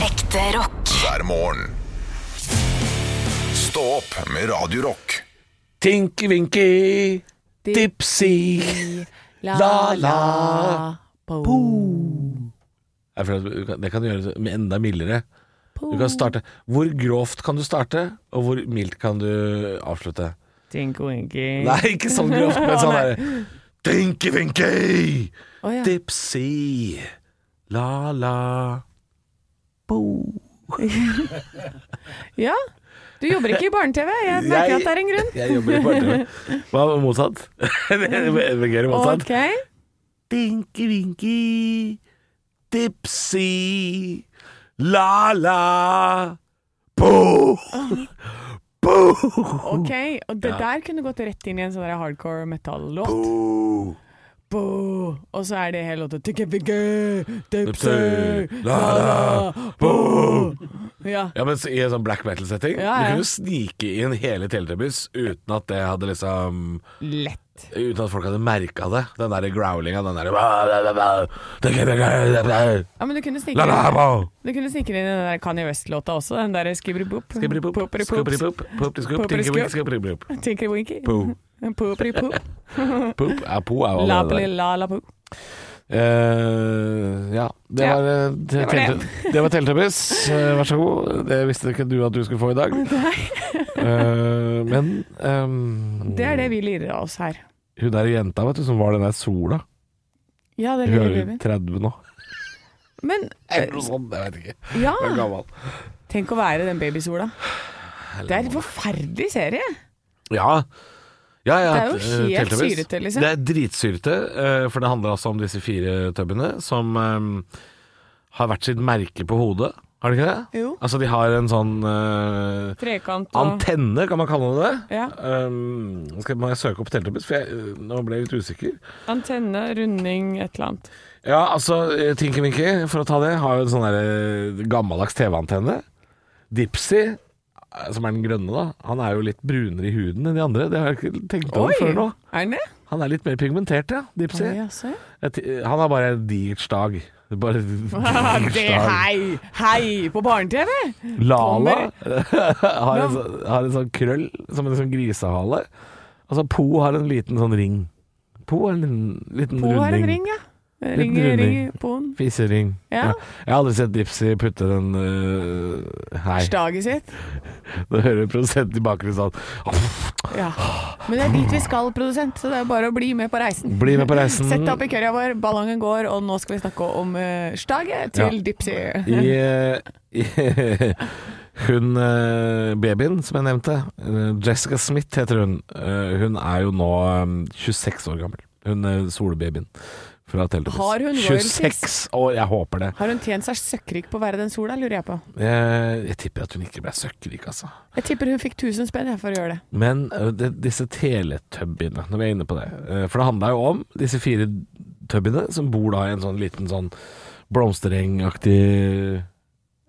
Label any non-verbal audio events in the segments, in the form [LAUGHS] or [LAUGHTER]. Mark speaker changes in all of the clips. Speaker 1: Ekte rock.
Speaker 2: hver morgen. Stå opp med Radio Rock.
Speaker 3: Tinky Winky, Dipsy La, la,
Speaker 4: po,
Speaker 3: Jeg føler at du kan- Det kan du gjøre med enda mildere. Du kan starte Hvor grovt kan du starte, og hvor mildt kan du avslutte?
Speaker 4: Tinko-inki.
Speaker 3: Nei, ikke sånn grovt, men sånn derre Tinky Winky,
Speaker 4: Å ja.
Speaker 3: Dipsy La la Bo.
Speaker 4: ja. Du jobber ikke i barne-TV. Jeg merker at det er en grunn.
Speaker 3: Jeg jobber i barne-TV. Hva med motsatt? [LAUGHS] Det er motsatt.
Speaker 4: Ok.
Speaker 3: Dinky Winky, Dipsy, La La, Bo, Bo,
Speaker 4: ok. Og det der kunne gått rett inn i en sånn der hardcore metal-låt.
Speaker 3: Bo.
Speaker 4: Bo. Og så er det hele låta Tikki-pikki, dipsi,
Speaker 3: Dipsi,
Speaker 4: la,
Speaker 3: la,
Speaker 4: la,
Speaker 3: Bo.
Speaker 4: Ja.
Speaker 3: Ja, men I en sånn black metal-setting
Speaker 4: Ja, ja.
Speaker 3: Du kunne jo snike inn hele Teletubbies uten at det hadde liksom
Speaker 4: Lett.
Speaker 3: Uten at folk hadde merka det. Den der growlinga, den derre
Speaker 4: Ja, men du kunne snike
Speaker 3: La la
Speaker 4: inn,
Speaker 3: bo.
Speaker 4: du kunne snike inn i den der Kanye West-låta også. Den der skibribop.
Speaker 3: Skibribop, skibribop, poptiskop, tinkibink, skibribop.
Speaker 4: Tinkerwinky.
Speaker 3: Po.
Speaker 4: Popripop.
Speaker 3: Pop. Ja, po er jo alle der.
Speaker 4: [LAUGHS] La-la-la-po.
Speaker 3: Eh, ja. Det
Speaker 4: Ja.
Speaker 3: var, eh,
Speaker 4: var det.
Speaker 3: Teletubbies. det var Teletubbies. Eh, vær så god. Det visste ikke du at du skulle få i dag. Eh, men [LAUGHS] ehm,
Speaker 4: Det er det vi lirer av oss her.
Speaker 3: hun der jenta vet du, som var den der sola
Speaker 4: Ja, det
Speaker 3: Hun
Speaker 4: lirer
Speaker 3: er
Speaker 4: vi
Speaker 3: jo 30 nå.
Speaker 4: Men eh,
Speaker 3: Eller noe sånt, sånn, jeg vet ikke.
Speaker 4: ja,
Speaker 3: Hun er gammel.
Speaker 4: tenk å være den babysola. Det er en forferdelig serie.
Speaker 3: Ja. Ja, ja,
Speaker 4: Det er jo
Speaker 3: eh,
Speaker 4: helt
Speaker 3: Teletubbies.
Speaker 4: syrete, liksom.
Speaker 3: Det er dritsyrete, eh, for det handler altså om disse fire tubbene som eh, har hvert sitt merke på hodet. Har de ikke det?
Speaker 4: Jo.
Speaker 3: Altså, de har en sånn eh,
Speaker 4: Trekant og
Speaker 3: Antenne, kan man kalle det.
Speaker 4: Ja.
Speaker 3: Um, skal, må jeg søke opp Teletubbies, for jeg, øh, nå ble jeg litt usikker.
Speaker 4: antenne, runding, et eller annet.
Speaker 3: Ja, altså, eh, Tinky Winky, for å ta det, har jo en sånn der, eh, gammeldags TV-antenne. Dipsy, eh, som er den grønne, da, han er jo litt brunere i huden enn de andre. Det har jeg ikke tenkt over før nå.
Speaker 4: Er den det?
Speaker 3: Han er litt mer pigmentert, ja. Dipsy.
Speaker 4: Å,
Speaker 3: [LAUGHS]
Speaker 4: jaså, ja.
Speaker 3: Jeg ti- eh, Han har bare en digert stag.
Speaker 4: [LAUGHS]
Speaker 3: Bare digert
Speaker 4: Det
Speaker 3: stag.
Speaker 4: hei! Hei! På barne-TV!
Speaker 3: Lala
Speaker 4: [LAUGHS] Kommer.
Speaker 3: har, en, sånn- har en sånn krøll som en sånn grisehale. Altså Po har en liten sånn ring. Po har en liten, liten
Speaker 4: På har en
Speaker 3: runding.
Speaker 4: ring, ja. Ring, ring
Speaker 3: runding.
Speaker 4: på den.
Speaker 3: Fisering.
Speaker 4: Ja.
Speaker 3: Jeg har aldri sett Dipsy putte den øh, Hei.
Speaker 4: Staget sitt.
Speaker 3: Nå hører du produsenten i bakgrunnen sånn
Speaker 4: Ja. Men det er dit vi skal, produsent, så det er bare å bli med på reisen.
Speaker 3: Bli med på reisen.
Speaker 4: Sett deg opp i kørja vår, ballongen går, og nå skal vi snakke om eh, staget til
Speaker 3: Ja.
Speaker 4: Dipsy.
Speaker 3: I, eh, i [LAUGHS] Hun eh, babyen som jeg nevnte, eh, Jessica Smith heter hun. Eh, Hun er jo nå eh, 26 år gammel. Hun eh, solbabyen fra Teletubbies.
Speaker 4: Har hun royalties?
Speaker 3: 26 år, jeg håper det.
Speaker 4: Har hun tjent seg søkkrik på å være den sola, lurer jeg på.
Speaker 3: Jeg, jeg tipper at hun ikke ble søkkrik, altså.
Speaker 4: Jeg tipper hun fikk 1000 spenn jeg, for å gjøre det.
Speaker 3: Men ø, det, disse teletubbyene, når vi er inne på det ø, For det handla jo om disse fire tubbyene som bor da i en sånn liten sånn blomsterengaktig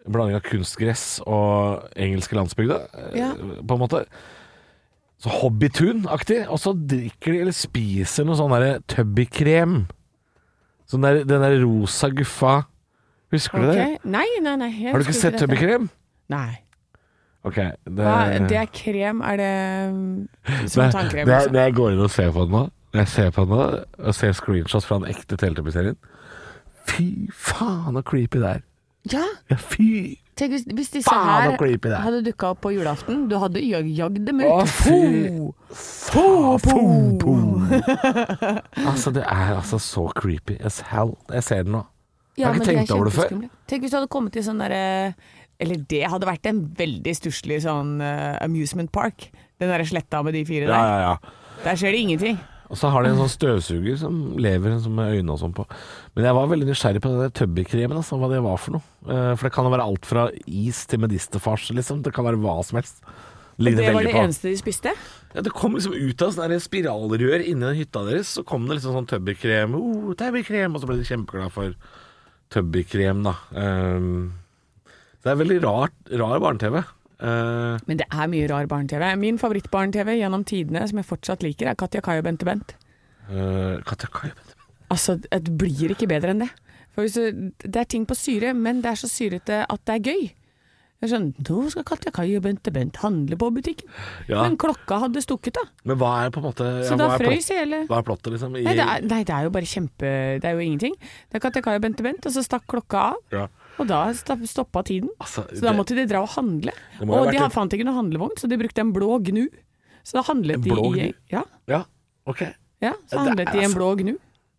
Speaker 3: blanding av kunstgress og engelske landsbygda, ø,
Speaker 4: Ja.
Speaker 3: på en måte. Så Hobbytun-aktig. Og så drikker de eller spiser noe sånn derre tubbykrem. Sånn der, den der rosa guffa. Husker du det?
Speaker 4: Ok. Nei, nei, nei. jeg
Speaker 3: Har du ikke
Speaker 4: husker
Speaker 3: sett
Speaker 4: dette.
Speaker 3: tubbykrem?
Speaker 4: Nei.
Speaker 3: Ok, det,
Speaker 4: Hva, det er krem, er det um, som
Speaker 3: Eh. Nei,
Speaker 4: tannkrem?
Speaker 3: Når jeg-
Speaker 4: liksom?
Speaker 3: når jeg går inn og ser på den nå Når jeg ser på den nå og ser screenshots fra den ekte Teletubby-serien Fy faen så creepy det er.
Speaker 4: Ja,
Speaker 3: Ja, fy
Speaker 4: tenk hvis, hvis disse
Speaker 3: faen så
Speaker 4: her
Speaker 3: creepy det er.
Speaker 4: hadde dukka opp på julaften, du hadde jag- jagd dem
Speaker 3: Å,
Speaker 4: ut.
Speaker 3: fy.
Speaker 4: Po, po, po. [LAUGHS]
Speaker 3: Altså, det er altså så creepy as hell. Jeg ser den nå.
Speaker 4: Ja,
Speaker 3: har ikke
Speaker 4: men de er
Speaker 3: tenkt over det før.
Speaker 4: kjempeskumle. Tenk hvis du hadde kommet til sånn derre Eller det hadde vært en veldig stusslig sånn eh, amusement park. Den derre sletta med de fire der.
Speaker 3: ja.
Speaker 4: Der skjer det ingenting.
Speaker 3: Og så har de en sånn støvsuger som lever som med øyne og sånn på. Men jeg var veldig nysgjerrig på den der tubby-kremen, altså, hva det var for noe. Eh, For det kan jo være alt fra is til medisterfars, liksom. Det kan være hva som helst.
Speaker 4: Og
Speaker 3: Ligner
Speaker 4: det var
Speaker 3: veldig
Speaker 4: det
Speaker 3: på.
Speaker 4: eneste de spiste?
Speaker 3: Ja, det kom liksom ut av sånne der spiralrør inni den hytta deres, så kom det liksom sånn tubbykrem, oh, tubbykrem, og så ble de kjempeglad for tubbykrem, da. Ehm, så det er veldig rart, rar barne-TV. Eh,
Speaker 4: Men det er mye rar barne-TV. Min favoritt-barne-TV gjennom tidene, som jeg fortsatt liker, er Katja Kai og Bente Bent.
Speaker 3: eh, Katja Kai, vet du.
Speaker 4: Altså, det blir ikke bedre enn det. For hvis du, det er ting på syre, men det er så syrete at det er gøy. Det er sånn, Nå skal Katja Kai og Bente Bent handle på butikken.
Speaker 3: Ja.
Speaker 4: Men klokka hadde stukket, da.
Speaker 3: Men hva er på en måte ja,
Speaker 4: Så da
Speaker 3: hva er
Speaker 4: frøys
Speaker 3: plott-
Speaker 4: hele
Speaker 3: Hva er plottet, liksom? I,
Speaker 4: nei det, er, nei, det er jo bare kjempe Det er jo ingenting. Det er Katja Kai og Bente Bent, og så stakk klokka av.
Speaker 3: ja.
Speaker 4: Og da sta- stoppa tiden.
Speaker 3: altså,
Speaker 4: Så da måtte de dra og handle.
Speaker 3: Det må ha
Speaker 4: Og
Speaker 3: vært
Speaker 4: de
Speaker 3: en-
Speaker 4: fant ikke noen handlevogn, så de brukte en blå gnu. Så da handlet
Speaker 3: En
Speaker 4: de
Speaker 3: blå
Speaker 4: i
Speaker 3: gnu?
Speaker 4: ja,
Speaker 3: Ja, ok.
Speaker 4: ja,
Speaker 3: Det
Speaker 4: så handlet
Speaker 3: er
Speaker 4: de i en
Speaker 3: altså-
Speaker 4: blå gnu.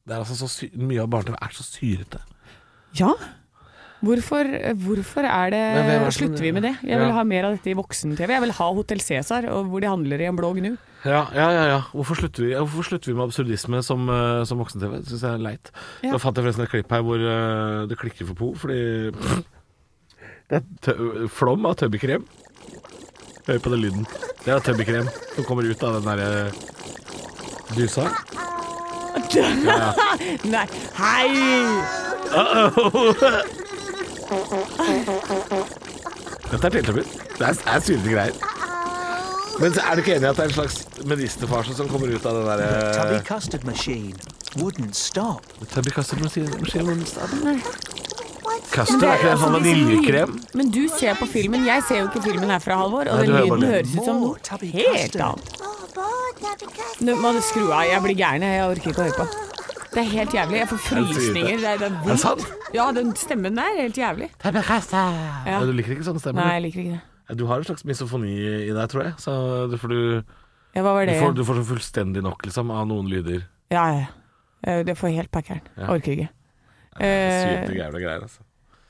Speaker 3: Det er altså så sy Mye av barne-TV er så syrete.
Speaker 4: Ja. Hvorfor, hvorfor er det,
Speaker 3: Men hvem er det som-
Speaker 4: slutter vi med det? Jeg
Speaker 3: Ja.
Speaker 4: vil ha mer av dette i voksen-TV. Jeg vil ha Hotell Cæsar, og hvor de handler i en blå gnu. [LAUGHS]
Speaker 3: Ja, ja, ja. ja. Hvorfor, slutter vi, ja, hvorfor slutter vi med absurdisme som, eh, som voksen-TV? Det syns jeg er leit.
Speaker 4: Ja.
Speaker 3: Da fant jeg forresten et klipp her hvor eh, det klikker for Po,
Speaker 4: [LAUGHS]
Speaker 3: fordi Det er tø flom av tømmerkrem. Hør på den lyden. Det er tømmerkrem som kommer ut av den eh, derre dusa.
Speaker 4: Nei, hei!
Speaker 3: Dette er tiltømmer. Det er, det er syrete greier. Men så er du ikke enig i at det er en slags medisterfarse som kommer ut av den eh, derre
Speaker 1: Tubby custard machine wouldn't stop.
Speaker 3: Custard er ikke det en sånn
Speaker 4: Altså, disse
Speaker 3: vaniljekrem?
Speaker 4: lyd- Men du ser på filmen, jeg ser jo ikke filmen herfra, Halvor. Og
Speaker 3: Nei,
Speaker 4: den
Speaker 3: du hører
Speaker 4: lyden
Speaker 3: bare
Speaker 4: høres ut som
Speaker 1: More
Speaker 4: noe
Speaker 1: tubby
Speaker 4: helt
Speaker 1: custard.
Speaker 4: annet. Nå må du skru av, jeg blir gæren. Jeg orker ikke å høre på. Det er helt jævlig. Jeg får frysninger. Det er, det er,
Speaker 3: Er det
Speaker 4: vondt.
Speaker 3: sant?
Speaker 4: Ja, den stemmen der er helt jævlig.
Speaker 3: Ja. Du liker ikke sånne
Speaker 4: Nei,
Speaker 3: stemmer?
Speaker 4: jeg liker ikke det.
Speaker 3: du? Du har en slags misofoni i deg, tror jeg. Så du, for du,
Speaker 4: Ja, hva var
Speaker 3: du,
Speaker 4: det?
Speaker 3: får, du får så fullstendig nok liksom, av noen lyder.
Speaker 4: Ja, ja. Eh, Det får helt pakkeren.
Speaker 3: Ja.
Speaker 4: Orker ikke.
Speaker 3: Syrete
Speaker 4: Eh,
Speaker 3: greier og greier. Altså.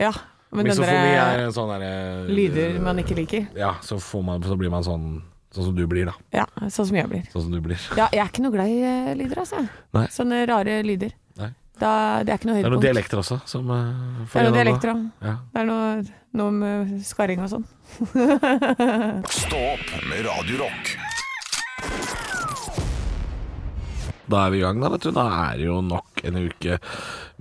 Speaker 4: ja, men den
Speaker 3: Misofoni er
Speaker 4: derre
Speaker 3: en sånn derre
Speaker 4: lyder man ikke liker.
Speaker 3: Ja, så, får man, så blir man sånn Sånn som du blir, da.
Speaker 4: Ja, sånn som jeg blir.
Speaker 3: Sånn som du blir.
Speaker 4: Ja, jeg er ikke noe glad i eh, lyder, altså.
Speaker 3: Nei.
Speaker 4: Sånne rare lyder.
Speaker 3: Nei.
Speaker 4: Da, det er ikke noe
Speaker 3: Det er noen
Speaker 4: høydepunkt.
Speaker 3: dialekter også som eh,
Speaker 4: Det er noe
Speaker 3: forener
Speaker 4: dialekter
Speaker 3: da.
Speaker 4: òg.
Speaker 3: Ja.
Speaker 4: Det er noe, noe med skarring og sånn.
Speaker 2: Stå opp med Radio Rock.
Speaker 3: Da er vi i gang, da, vet du. Da er det jo nok en uke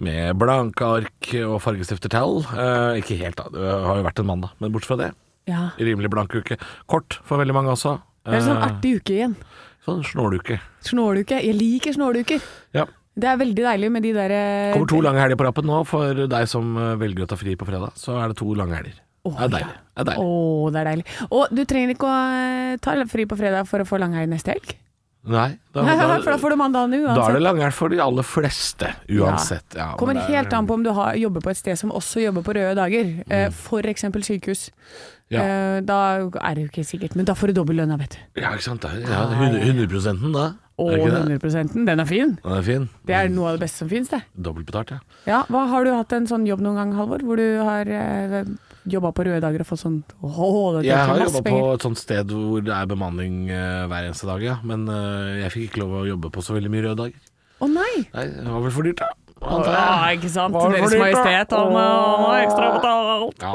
Speaker 3: med blanke ark og fargestiftertall. Eh, ikke helt, da. Det har jo vært en mandag, men bortsett fra det.
Speaker 4: Ja.
Speaker 3: Rimelig blank uke. Kort for veldig mange også.
Speaker 4: Det er en sånn
Speaker 3: Eh,
Speaker 4: artig uke igjen.
Speaker 3: Sånn snåluke.
Speaker 4: Snåluke. Jeg liker snåluker.
Speaker 3: Ja.
Speaker 4: Det er veldig deilig med de der eh,
Speaker 3: Kommer to lange helger på rappen nå. For deg som eh, velger å ta fri på fredag, så er det to lange helger.
Speaker 4: Åh,
Speaker 3: det er deilig. Det er
Speaker 4: Å,
Speaker 3: deilig.
Speaker 4: det er deilig. Og du trenger ikke å eh, ta fri på fredag for å få langhelg neste helg.
Speaker 3: Nei, da,
Speaker 4: [LAUGHS] For da
Speaker 3: da,
Speaker 4: får du mandagen
Speaker 3: da er det
Speaker 4: uansett.
Speaker 3: langhelg for de aller fleste, uansett. Ja, men
Speaker 4: Kommer
Speaker 3: det er-
Speaker 4: helt an på om du har, jobber på et sted som også jobber på røde dager. Eh, For eksempel sykehus.
Speaker 3: Mm. Ja.
Speaker 4: Eh, Da er det jo ikke sikkert, men da får du dobbel lønn, vet du.
Speaker 3: Ja, ikke sant. Det er- Ja, 100 da.
Speaker 4: Og
Speaker 3: Er det Mm. ikke det?
Speaker 4: 100 den er fin.
Speaker 3: Den er fin.
Speaker 4: Det er noe av det beste som finnes, det.
Speaker 3: Dobbelt betalt, ja.
Speaker 4: Ja, hva Har du hatt en sånn jobb noen gang, Halvor? Hvor du har eh, jobba på røde dager og fått sånn Åh, det
Speaker 3: Jeg
Speaker 4: er
Speaker 3: har
Speaker 4: masse
Speaker 3: jobba på
Speaker 4: penger.
Speaker 3: et sånt sted hvor det er bemanning eh, hver eneste dag, ja. Men eh, jeg fikk ikke lov å jobbe på så veldig mye røde dager.
Speaker 4: Å nei!
Speaker 3: Nei, det var vel for dyrt, da. Antar jeg.
Speaker 4: Ja, ikke sant?
Speaker 3: Var det
Speaker 4: Deres
Speaker 3: for dyrt, da?
Speaker 4: Majestet, han han har ekstra betalt.
Speaker 3: Ja.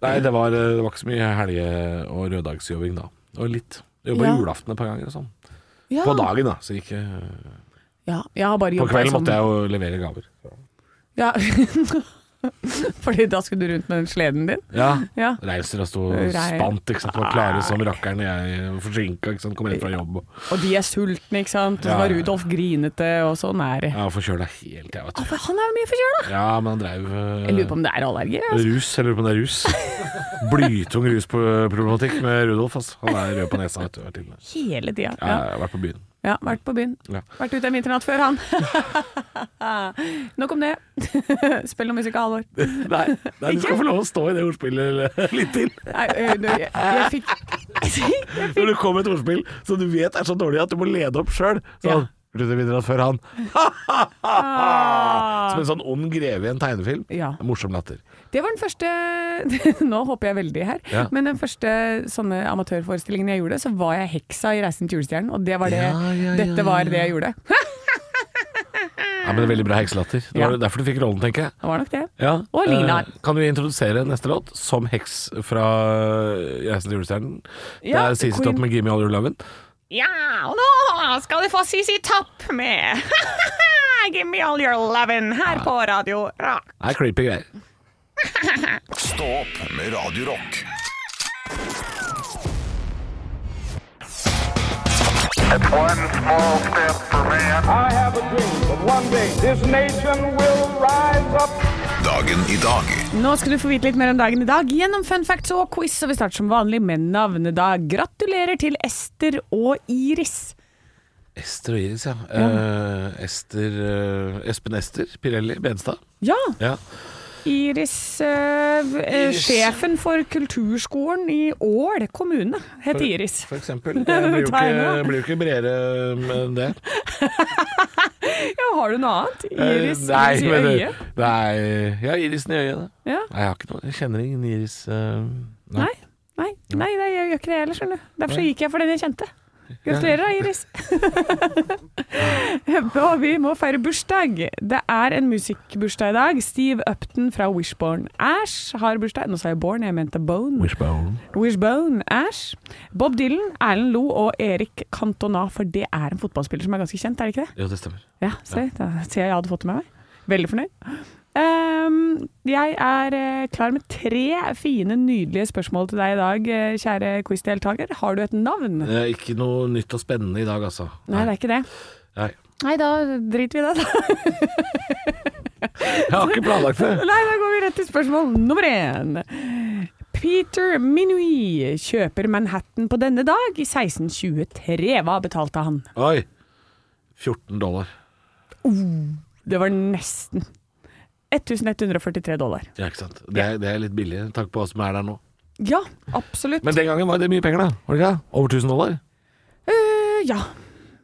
Speaker 3: Nei, det var, eh, det var ikke så mye helge- og røddagsjobbing da. Det var litt. Jobba
Speaker 4: Ja.
Speaker 3: julaften et par ganger og sånn.
Speaker 4: Ja.
Speaker 3: På dagen, da. Så ikke
Speaker 4: Ja, jeg har bare
Speaker 3: På
Speaker 4: jobbet sånn.
Speaker 3: kvelden
Speaker 4: som-
Speaker 3: måtte jeg jo levere gaver.
Speaker 4: Ja. [LAUGHS] Fordi da skulle du rundt med den sleden din?
Speaker 3: Ja.
Speaker 4: Ja.
Speaker 3: Reiser og sto
Speaker 4: Reir.
Speaker 3: spant, ikke sant. Var klare som rakkeren. Jeg var forsinka, ikke sant. Kom rett fra jobb. og-
Speaker 4: Og de er sultne, ikke sant? Og så
Speaker 3: Ja,
Speaker 4: var
Speaker 3: ja, ja.
Speaker 4: Rudolf grinete, og sånn er det.
Speaker 3: Ja, forkjøla helt, jeg, vet
Speaker 4: Å,
Speaker 3: du.
Speaker 4: for Han er jo mye forkjøla!
Speaker 3: Ja, men han dreiv eh,
Speaker 4: Jeg lurer på om det er allergi. Altså.
Speaker 3: Rus, jeg lurer på om det er rus. Blytung rusproblematikk med Rudolf. ass. Han er rød på nesa. Vet du, hver time.
Speaker 4: Hele tida.
Speaker 3: ja,
Speaker 4: Ja.
Speaker 3: jeg har vært på byen.
Speaker 4: ja, vært på byen.
Speaker 3: Ja.
Speaker 4: Vært ute en vinternatt før, han. [LAUGHS] Nok om det. [LAUGHS] Spill noe musikk, Halvor.
Speaker 3: Nei, nei, du skal få lov å stå i det ordspillet [LAUGHS] litt til.
Speaker 4: Nei, ø, du, jeg, jeg fikk Jeg fikk [LAUGHS]
Speaker 3: Når det kommer et ordspill som du vet er så dårlig at du må lede opp sjøl.
Speaker 4: Ja.
Speaker 3: Sånn. Rune vinner at før han. Som
Speaker 4: ah.
Speaker 3: en sånn ond greve i en tegnefilm.
Speaker 4: Ja.
Speaker 3: Morsom latter.
Speaker 4: Det var den første [LAUGHS] Nå håper jeg veldig her,
Speaker 3: Ja.
Speaker 4: men den første sånne amatørforestillingen jeg gjorde, så var jeg heksa i 'Reisen til julestjernen', og det var det,
Speaker 3: Ja, ja, ja,
Speaker 4: dette var
Speaker 3: ja.
Speaker 4: det jeg gjorde. [LAUGHS]
Speaker 3: Ja, men det er Veldig bra hekselatter. Det
Speaker 4: Ja.
Speaker 3: var derfor du fikk rollen, tenker jeg.
Speaker 4: Det var nok det.
Speaker 3: Ja.
Speaker 4: Og Lina.
Speaker 3: Eh, kan du introdusere neste låt som heks fra Reisen til julestjernen?
Speaker 4: Ja,
Speaker 3: det er CC
Speaker 4: Queen.
Speaker 3: Topp med 'Gimme All Your Lovin'.
Speaker 5: Ja, og nå skal du få Sisi Topp med [LAUGHS] Give me all your lovin' her på Radio Rock.
Speaker 3: Det er creepy greier.
Speaker 2: Stå opp med Radio Rock.
Speaker 6: It's one small step for man.
Speaker 7: I have a dream that one day this nation will rise up.
Speaker 2: Dagen i dag.
Speaker 4: Nå skal du få vite litt mer om dagen i dag gjennom fun facts og quiz, og vi starter som vanlig med navnedag. Gratulerer til Ester og Iris.
Speaker 3: Ester og Iris, ja. Eh, Ester eh, Espen Ester Pirelli Benstad.
Speaker 4: Ja,
Speaker 3: Ja.
Speaker 4: Iris, eh, eh, sjefen for kulturskolen i Ål kommune, heter Iris.
Speaker 3: For
Speaker 4: [LAUGHS]
Speaker 3: eksempel. Det blir jo ikke,
Speaker 4: Tegner.
Speaker 3: blir jo ikke bredere enn det.
Speaker 4: Ja, har du noe annet?
Speaker 3: Eh,
Speaker 4: Iris,
Speaker 3: nei,
Speaker 4: Iris i
Speaker 3: men det-
Speaker 4: øyet?
Speaker 3: Nei, ja, irisen i øyet. det.
Speaker 4: Ja.
Speaker 3: Nei, jeg har ikke noe Jeg kjenner ingen iris. eh, nei.
Speaker 4: Nei. Nei, nei, nei, jeg gjør ikke det heller, skjønner du. Derfor så gikk jeg for den jeg kjente. Gratulerer da, Iris. [LAUGHS] Og vi må feire bursdag. Det er en musikkbursdag i dag. Steve Upton fra Wishbone Ash har bursdag. Nå sa jeg Born, jeg mente Bone.
Speaker 3: Wishbone.
Speaker 4: Wishbone Ash. Bob Dylan, Erlend Lo og Erik Cantona, for det er en fotballspiller som er ganske kjent, er det ikke det?
Speaker 3: Jo, det stemmer.
Speaker 4: Ja, se, da ser jeg jeg hadde fått det med meg. Veldig fornøyd. Ehm, jeg er eh, klar med tre fine, nydelige spørsmål til deg i dag, eh, kjære quizdeltaker. Har du et navn?
Speaker 3: Det er ikke noe nytt og spennende i dag, altså.
Speaker 4: Nei, det er ikke det.
Speaker 3: Nei.
Speaker 4: Nei, da driter vi i det. da. [LAUGHS]
Speaker 3: Jeg har ikke planlagt
Speaker 4: [LAUGHS]
Speaker 3: det.
Speaker 4: Nei, da går vi rett til spørsmål nummer én. Peter Minui kjøper Manhattan på denne dag i 1623. Hva betalte han?
Speaker 3: Oi. 14 dollar.
Speaker 4: Det var nesten 1143 dollar.
Speaker 3: Ja, ikke sant. Det er, det er litt billig, med tanke på hva som er der nå.
Speaker 4: Ja, absolutt.
Speaker 3: Men den gangen var det mye penger, da. Var det ikke? det? Over 1000 dollar?
Speaker 4: Eh, ja.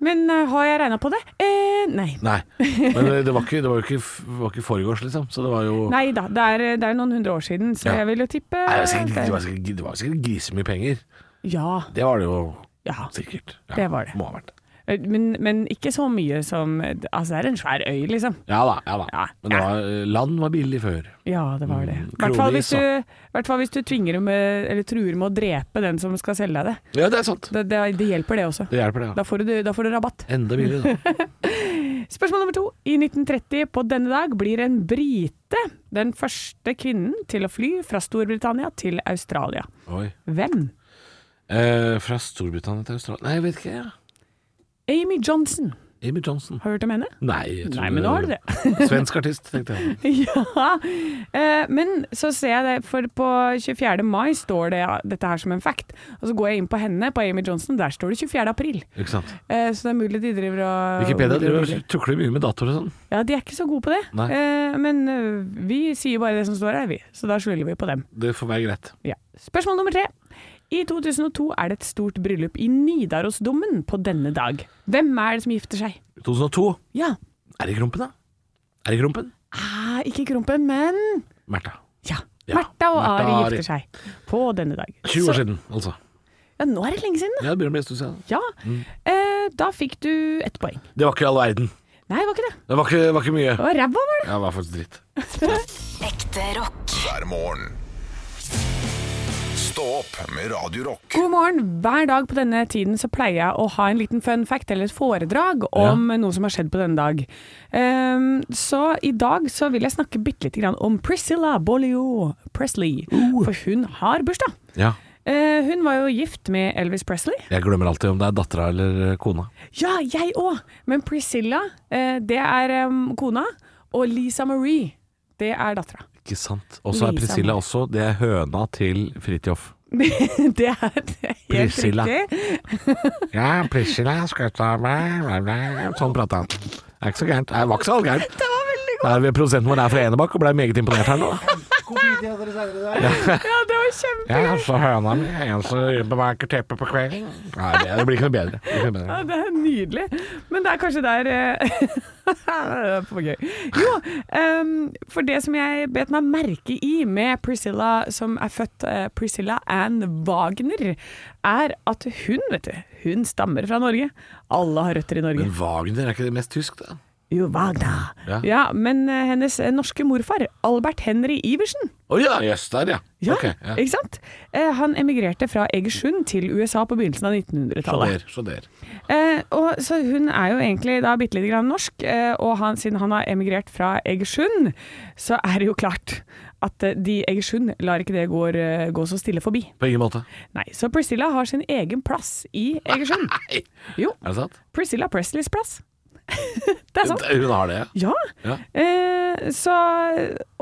Speaker 4: Men eh, har jeg regna på det? Eh, nei.
Speaker 3: Nei. Men eh, det var ikke, det var jo ikke, f- var ikke foregårs, liksom. Så det var jo
Speaker 4: Nei da, det er, det er noen hundre år siden, så
Speaker 3: Ja.
Speaker 4: jeg vil jo tippe
Speaker 3: Nei, det var sikkert- det var sikkert- det var sikkert grisemye penger.
Speaker 4: Ja.
Speaker 3: Det var det jo
Speaker 4: ja.
Speaker 3: sikkert.
Speaker 4: Det var det.
Speaker 3: Må ha vært det.
Speaker 4: Eh, Men, men ikke så mye som Altså, det er en svær øy, liksom.
Speaker 3: Ja da. ja da
Speaker 4: Ja.
Speaker 3: Men det var, eh, land var billig før.
Speaker 4: Ja, det var det.
Speaker 3: Mm,
Speaker 4: I hvert fall hvis,
Speaker 3: kronis, da.
Speaker 4: du- hvert fall hvis du tvinger med, eller truer med å drepe den som skal selge deg det.
Speaker 3: Ja, det er sant.
Speaker 4: Det, det, det hjelper, det også.
Speaker 3: Det hjelper, det.
Speaker 4: Da får, du, da får du rabatt.
Speaker 3: ja Enda billigere,
Speaker 4: [LAUGHS]
Speaker 3: da.
Speaker 4: Spørsmål nummer to. I 1930 på denne dag blir en brite den første kvinnen til å fly fra Storbritannia til Australia.
Speaker 3: Oi.
Speaker 4: Hvem?
Speaker 3: Eh, fra Storbritannia til Australia Nei, jeg vet ikke. Ja.
Speaker 4: Amy Johnson.
Speaker 3: Amy Johnson.
Speaker 4: Har du hørt om [LAUGHS] henne?
Speaker 3: Nei, jeg tror
Speaker 4: Nei, men nå har du det.
Speaker 3: [LAUGHS] Svensk artist, tenkte jeg.
Speaker 4: ja. Eh, Men så ser jeg det, for på 24. mai står det ja, dette her som en fact. Og så går jeg inn på henne, på Amy Johnson, der står det 24. april.
Speaker 3: Ikke sant.
Speaker 4: Eh, Så det er mulig de driver og
Speaker 3: Wikipedia
Speaker 4: driver og
Speaker 3: driver og tukler mye med datoer og sånn.
Speaker 4: Ja, de er ikke så gode på det.
Speaker 3: Nei.
Speaker 4: Eh, Men eh, vi sier bare det som står her, vi. Så da skylder vi på dem.
Speaker 3: Det får være greit.
Speaker 4: Ja. Spørsmål nummer tre. I 2002 er det et stort bryllup i Nidarosdomen på denne dag. Hvem er det som gifter seg?
Speaker 3: 2002.
Speaker 4: Ja,
Speaker 3: Er det Krompen, da? Er det Krompen?
Speaker 4: ah, ikke Krompen, men
Speaker 3: Märtha.
Speaker 4: ja.
Speaker 3: Ja,
Speaker 4: Märtha og
Speaker 3: Märtha
Speaker 4: Ari
Speaker 3: og Ari.
Speaker 4: gifter seg på denne dag.
Speaker 3: 20 år
Speaker 4: Så-
Speaker 3: siden, altså.
Speaker 4: Ja, nå er det lenge siden, da.
Speaker 3: Ja, det begynner å bli en stund siden.
Speaker 4: Ja.
Speaker 3: Mm.
Speaker 4: Eh, da fikk du ett poeng.
Speaker 3: Det var ikke all verden.
Speaker 4: Nei, det var ikke det.
Speaker 3: Det var ikke, var ikke mye.
Speaker 4: Det var ræva, var det.
Speaker 3: Ja, det var faktisk dritt.
Speaker 8: Ekte rock.
Speaker 2: hver morgen. Stå opp med Radio Rock.
Speaker 4: God morgen. Hver dag på denne tiden så pleier jeg å ha en liten fun fact eller et foredrag om noe som har skjedd på denne dag. Ehm, så i dag så vil jeg snakke bitte lite grann om Priscilla Bolio Presley.
Speaker 3: Uh.
Speaker 4: For hun har bursdag.
Speaker 3: Ja.
Speaker 4: Eh, hun var jo gift med Elvis Presley.
Speaker 3: Jeg glemmer alltid om det er dattera eller eh, kona.
Speaker 4: Ja, jeg òg! Men Priscilla, eh, det er em, kona. Og Lisa Marie, det er dattera. [LAUGHS]
Speaker 3: Ikke sant. Og så er
Speaker 4: Lisa
Speaker 3: Priscilla
Speaker 4: Marie.
Speaker 3: også Det er høna til Fridtjof.
Speaker 4: det er helt
Speaker 3: Priscilla.
Speaker 4: riktig.
Speaker 3: Ja, Priscilla skal ta meg Sånn prata han. Det er ikke så gærent. Det var ikke så gærent.
Speaker 4: Det var veldig
Speaker 3: Det er Produsenten vår er fra Enebakk og ble meget imponert her nå.
Speaker 4: Ja, det var kjempe...
Speaker 3: Ja, så høna mi er en som bemerker teppet på kvelden. Nei, det- det blir ikke noe bedre. Det blir ikke noe
Speaker 4: Ja,
Speaker 3: bedre.
Speaker 4: det er nydelig. Men det er kanskje der eh, [LAUGHS] Det er for gøy. Jo, em, for det som jeg bet meg merke i med Priscilla, som er født eh, Priscilla Ann Wagner, er at hun, vet du, hun stammer fra Norge. Alle har røtter i Norge.
Speaker 3: Men Wagner er ikke det mest tysk, da?
Speaker 4: Jo, Wagner.
Speaker 3: Ja.
Speaker 4: Ja. men eh, hennes eh, norske morfar, Albert Henry Iversen,
Speaker 3: Å ja, jøss, der, ja.
Speaker 4: ja,
Speaker 3: Ok, ja.
Speaker 4: ikke sant? Eh, han emigrerte fra Egersund til USA på begynnelsen av
Speaker 3: Så
Speaker 4: 1900-tallet.
Speaker 3: der, så der.
Speaker 4: Eh, og, så hun er jo egentlig da bitte lite grann norsk, eh, og han, siden han har emigrert fra Egersund, så er det jo klart at eh, de Egersund lar ikke det gå, eh, gå så stille forbi.
Speaker 3: På ingen måte.
Speaker 4: Nei, så Priscilla har sin egen plass i Egersund. Jo,
Speaker 3: Er det sant?
Speaker 4: Priscilla Presleys plass. [LAUGHS] det er sant.
Speaker 3: Hun har det, ja.
Speaker 4: Ja.
Speaker 3: Ja.
Speaker 4: Eh, så,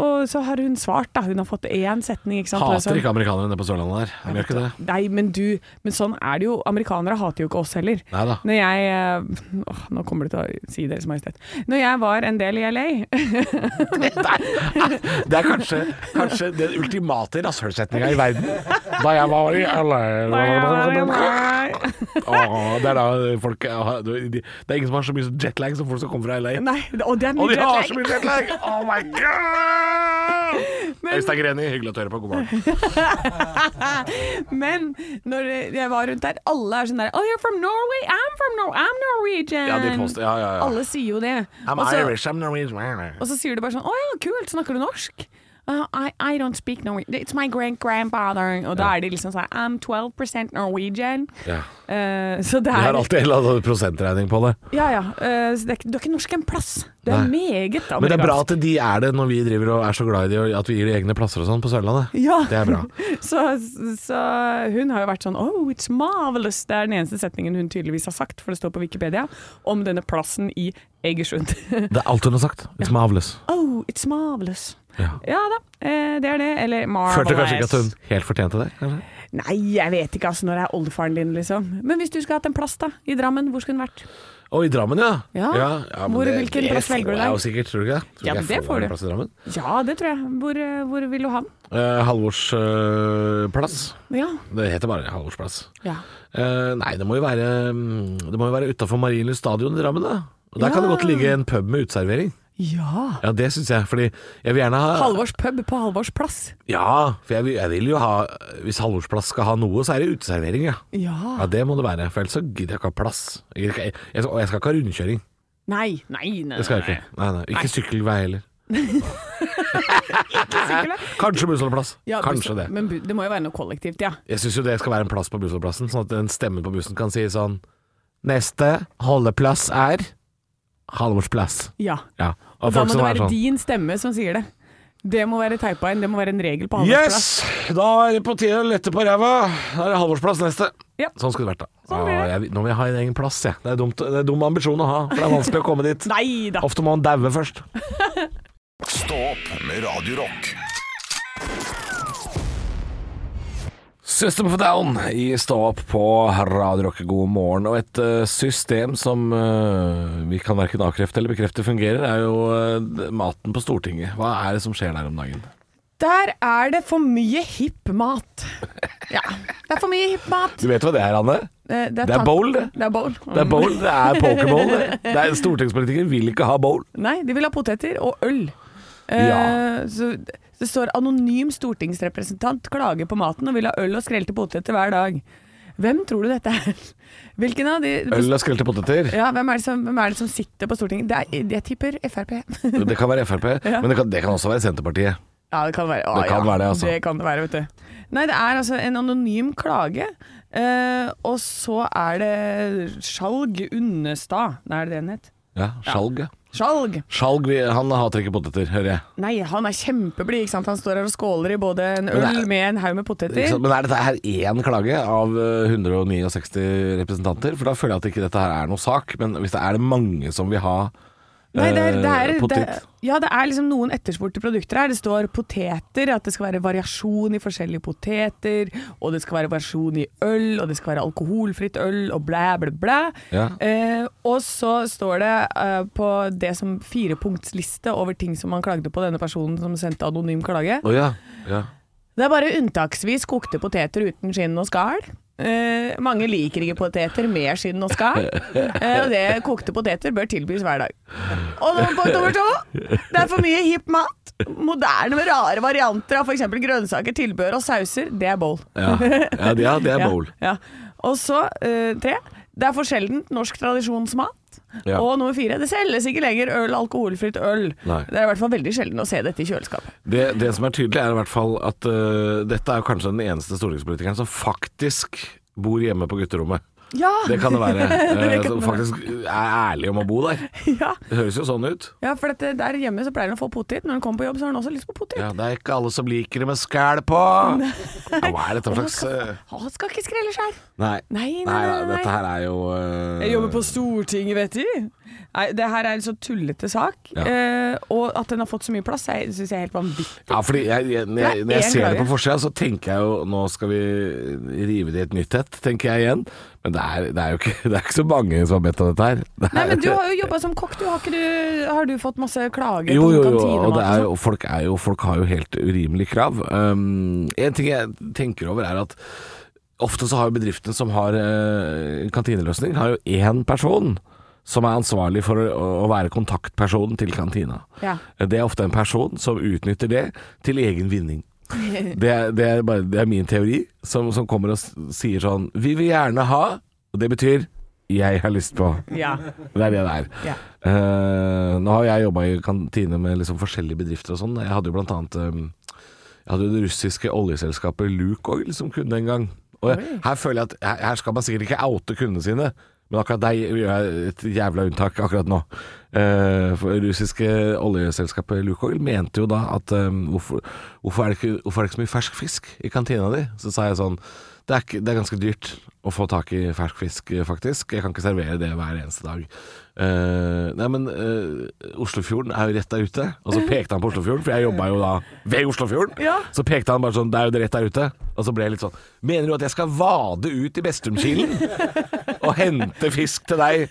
Speaker 4: og så har hun svart, da. Hun har fått én setning. Ikke sant? Og
Speaker 3: Hater
Speaker 4: sånn-
Speaker 3: ikke amerikanere nede på Sørlandet der. De gjør ikke det.
Speaker 4: Nei, men du Men sånn er det jo. Amerikanere hater jo ikke oss heller.
Speaker 3: Neida.
Speaker 4: Når jeg eh, åh, Nå kommer det til å si Deres Majestet. Når jeg var en del i LA [LAUGHS]
Speaker 3: Det er kanskje, kanskje den ultimate rasshølsetninga i verden. Da jeg var i Åh, Det er da folk har- Det er ingen som har så mye jetlag som folk som kommer fra LA.
Speaker 4: [LAUGHS] Nei, og det er
Speaker 3: Og
Speaker 4: mye
Speaker 3: de har så
Speaker 4: jetlag.
Speaker 3: mye jetlag! Oh my god! Øystein Greni, hyggelig å høre på. God
Speaker 4: [LAUGHS]
Speaker 3: morgen.
Speaker 4: Men når jeg var rundt der, alle er sånn der Oh, you're from Norway? I'm from Norway. I'm Norwegian.
Speaker 3: Ja, de påstår- ja, ja, ja.
Speaker 4: Alle sier jo det.
Speaker 3: I'm
Speaker 4: Og så-
Speaker 3: Irish, I'm Norwegian.
Speaker 4: Og så sier du bare sånn Å ja, kult, snakker du norsk? «Uh, I, I don't speak Norwegian. It's my great grandfather. Og da er de liksom sånn I'm 12 Norwegian.
Speaker 3: Ja.
Speaker 4: Eh, så det
Speaker 3: De
Speaker 4: er
Speaker 3: har alltid en eller annen prosentregning på det.
Speaker 4: Ja, ja. eh, så det er, ikke- du er ikke norsk en plass. Du er
Speaker 3: Nei.
Speaker 4: meget amerikansk.
Speaker 3: Men det er bra at de er det når vi driver og er så glad i de, og at vi gir de egne plasser og sånn på Sørlandet.
Speaker 4: Ja.
Speaker 3: Det er bra.
Speaker 4: Så, så hun har jo vært sånn Oh, it's marvelous. Det er den eneste setningen hun tydeligvis har sagt, for det står på Wikipedia, om denne plassen i Egersund. [LAUGHS]
Speaker 3: Det er alt hun har sagt. It's marvelous.
Speaker 4: oh, it's marvelous.
Speaker 3: Ja.
Speaker 4: Ja da, eh, det er det. Eller marvelous.
Speaker 3: Følte kanskje ikke at hun helt fortjente det? Kanskje?
Speaker 4: Nei, jeg vet ikke altså, når det er oldefaren din, liksom. Men hvis du skulle hatt en plass da, i Drammen, hvor skulle den vært?
Speaker 3: Og i Drammen, ja.
Speaker 4: Ja.
Speaker 3: men
Speaker 4: Hvor- hvilken plass velger du
Speaker 3: Det får jeg
Speaker 4: deg?
Speaker 3: jo sikkert, tror du ikke det? Tror
Speaker 4: Ja,
Speaker 3: ikke
Speaker 4: men det
Speaker 3: jeg
Speaker 4: får
Speaker 3: en
Speaker 4: du.
Speaker 3: Plass i Drammen.
Speaker 4: Ja, det tror jeg. Hvor, eh, hvor vil du ha den?
Speaker 3: Eh, Halvors eh, plass.
Speaker 4: Ja.
Speaker 3: Det heter bare Halvors plass.
Speaker 4: ja.
Speaker 3: Eh, nei, det må jo være mm, Det må jo være utafor Marienlyst stadion i Drammen, da. Og Der kan det
Speaker 4: Ja.
Speaker 3: godt ligge en pub med uteservering. Ja, det syns jeg. Fordi jeg vil gjerne ha
Speaker 4: Halvors pub på Halvors plass.
Speaker 3: Ja, for jeg vil, jeg vil jo ha Hvis Halvors plass skal ha noe, så er det uteservering, ja. Ja,
Speaker 4: Ja.
Speaker 3: det må det være. For ellers så gidder jeg ikke ha plass. Jeg gidder ikke, jeg, jeg, og jeg skal ikke ha rundkjøring.
Speaker 4: Nei, nei, nei.
Speaker 3: Det skal jeg ikke. Nei, nei. Ikke sykkelvei heller.
Speaker 4: Sykkel, da.
Speaker 3: Kanskje bussholdeplass.
Speaker 4: Ja,
Speaker 3: Kanskje
Speaker 4: bussen-
Speaker 3: det.
Speaker 4: Men bu- det må jo være noe kollektivt, ja.
Speaker 3: Jeg syns jo det skal være en plass på bussholdeplassen, sånn at den stemmen på bussen kan si sånn Neste holdeplass er Halvorsplass.
Speaker 4: Ja.
Speaker 3: Ja. Og
Speaker 4: Da
Speaker 3: folk
Speaker 4: må det
Speaker 3: som er
Speaker 4: være
Speaker 3: sånn
Speaker 4: din stemme som sier det. Det må være teipa inn, det må være en regel på Halvors
Speaker 3: Yes!
Speaker 4: plass.
Speaker 3: Da er det på tide å lette på ræva. Da er det Halvorsplass neste.
Speaker 4: Ja.
Speaker 3: Sånn skulle det vært, da.
Speaker 4: Sånn blir
Speaker 3: Å,
Speaker 4: det.
Speaker 3: jeg, nå vil jeg ha en egen plass, jeg. Det er, dumt, det er dum ambisjon å ha, for det er vanskelig å komme dit.
Speaker 4: Nei da.
Speaker 3: Ofte må man daue først.
Speaker 2: Stå opp med Radio Rock.
Speaker 3: System of a Down i Stå opp på Radio Rock, god morgen. Og et eh, system som eh, vi kan verken avkrefte eller bekrefte fungerer, er jo eh, maten på Stortinget. Hva er det som skjer der om dagen?
Speaker 4: Der er det for mye hipp mat. Ja. Det er for mye hipp mat.
Speaker 3: Du vet hva det er, Anne?
Speaker 4: Eh, Det
Speaker 3: Det er
Speaker 4: tan-
Speaker 3: bowl, det.
Speaker 4: Det er bowl.
Speaker 3: Det er bowl, det er pokerball. det. Det er Stortingspolitikere vil ikke ha bowl.
Speaker 4: Nei, de vil ha poteter og øl. Eh,
Speaker 3: Ja.
Speaker 4: så det står anonym stortingsrepresentant klager på maten og vil ha øl og skrelte poteter hver dag. Hvem tror du dette er? [LAUGHS] Hvilken av de
Speaker 3: Øl og skrelte poteter.
Speaker 4: Ja, hvem er, det som, hvem er det som sitter på Stortinget? Det er, jeg tipper Frp.
Speaker 3: Det kan være Frp, men det kan, det kan også være Senterpartiet.
Speaker 4: [LAUGHS] ja, det kan være Å,
Speaker 3: Det kan
Speaker 4: ja,
Speaker 3: være det, altså.
Speaker 4: Det kan det være, vet du. Nei, det er altså en anonym klage. eh, og så er det Skjalg Unnestad. Nei, er det det han het?
Speaker 3: Ja, Skjalg. ja.
Speaker 4: Skjalg!
Speaker 3: Skjalg vi- han hater ikke poteter, hører jeg.
Speaker 4: Nei, han er kjempeblid, ikke sant? Han står her og skåler i både
Speaker 3: Men
Speaker 4: en
Speaker 3: det
Speaker 4: øl
Speaker 3: er-
Speaker 4: med en haug med poteter.
Speaker 3: Ikke sant? Men er dette her én klage av eh, 169 representanter? For da føler jeg at ikke dette her er noe sak, men hvis det er det mange som vil ha
Speaker 4: Nei, det er, det
Speaker 3: eh,
Speaker 4: er, det
Speaker 3: potet
Speaker 4: er, ja, det er liksom noen etterspurte produkter her. Det står poteter, at det skal være variasjon i forskjellige poteter, og det skal være variasjon i øl, og det skal være alkoholfritt øl, og blæ, blæ, blæ.
Speaker 3: Ja.
Speaker 4: Eh, og så står det eh, på det som firepunktsliste over ting som man klagde på, denne personen som sendte anonym klage.
Speaker 3: Å ja. ja.
Speaker 4: Det er bare unntaksvis kokte poteter uten skinn og skall. Eh, mange liker ikke poteter med skinn og skall, eh, og det kokte poteter bør tilbys hver dag. Og nå punkt nummer to. Det er for mye hipp mat. Moderne med rare varianter av f.eks. grønnsaker, tilbehør og sauser. Det er bowl.
Speaker 3: Ja, ja, det, er, det er bowl.
Speaker 4: [LAUGHS] Ja, ja. Og så eh, tre. Det er for sjeldent norsk tradisjonsmat.
Speaker 3: Ja.
Speaker 4: Og nummer fire, det selges ikke lenger øl, alkoholfritt øl.
Speaker 3: Nei.
Speaker 4: Det er i hvert fall veldig sjelden å se dette i kjøleskapet.
Speaker 3: Det, det som er tydelig, er i hvert fall at eh, dette er kanskje den eneste stortingspolitikeren som faktisk bor hjemme på gutterommet.
Speaker 4: Ja.
Speaker 3: Det kan det være. Eh,
Speaker 4: [LAUGHS] Det kan
Speaker 3: som
Speaker 4: det
Speaker 3: faktisk er ærlig om å bo der.
Speaker 4: ja.
Speaker 3: Det høres jo sånn ut.
Speaker 4: ja, for dette, der hjemme så pleier han å få potet. Når han kommer på jobb, så har han også lyst på potet.
Speaker 3: Ja, det er ikke alle som liker det med skæl på.
Speaker 4: [LAUGHS]
Speaker 3: Ja, hva er dette for slags eh,
Speaker 4: Han skal ikke skrelle sjøl.
Speaker 3: Nei.
Speaker 4: Nei, nei,
Speaker 3: nei,
Speaker 4: nei, nei.
Speaker 3: dette her er jo eh,
Speaker 4: Jeg jobber på Stortinget, vet du. Nei, det her er en så tullete sak.
Speaker 3: Ja.
Speaker 4: Eh, og at den har fått så mye plass, jeg- synes jeg er helt vanvittig.
Speaker 3: Ja, fordi jeg, jeg, når jeg, når jeg
Speaker 4: Det er en
Speaker 3: ser det
Speaker 4: greie.
Speaker 3: på forsida, så tenker jeg jo nå skal vi rive det i et nytt et, tenker jeg igjen. Men det er, det er jo ikke, [LAUGHS] det er ikke så mange som har bedt om dette her. Det
Speaker 4: Nei,
Speaker 3: er-
Speaker 4: men du har jo jobba som kokk, du. Har, ikke du. har du fått masse klager
Speaker 3: jo,
Speaker 4: på
Speaker 3: jo, jo,
Speaker 4: kantinemat
Speaker 3: og det er
Speaker 4: sånn?
Speaker 3: jo, folk, er jo, folk har jo helt urimelige krav. Um, en ting jeg tenker over er at ofte så har jo bedriftene som har eh, kantineløsning, har jo én person som er ansvarlig for å, å være kontaktpersonen til kantina.
Speaker 4: Ja.
Speaker 3: Det er ofte en person som utnytter det til egen vinning. Det er, det er, bare, det er min teori, som, som kommer og s- sier sånn Vi vil gjerne ha, og det betyr jeg har lyst på.
Speaker 4: Ja.
Speaker 3: Det er det det er.
Speaker 4: Ja.
Speaker 3: Eh, nå har jeg jobba i kantine med liksom forskjellige bedrifter og sånn. Jeg hadde jo blant annet eh, Jeg hadde jo det russiske oljeselskapet Lukoil som kunde en gang. Og jeg, her føler jeg at her, her skal man sikkert ikke oute kundene sine, men akkurat deg gjør jeg et jævla unntak akkurat nå. Eh, for det russiske oljeselskapet Lukoil mente jo da at eh, hvorfor, hvorfor, er det ikke, hvorfor er det ikke så mye fersk fisk i kantina di? Så sa jeg sånn det er, ikke, det er ganske dyrt å få tak i fersk fisk, eh, faktisk. Jeg kan ikke servere det hver eneste dag. Eh, nei, men eh, Oslofjorden er jo rett der ute. Og så pekte han på Oslofjorden, for jeg jobba jo da ved Oslofjorden.
Speaker 4: Ja.
Speaker 3: Så pekte han bare sånn, det er jo det rett der ute. Og så ble jeg litt sånn Mener du at jeg skal vade ut i Bestumkilen og hente fisk til deg?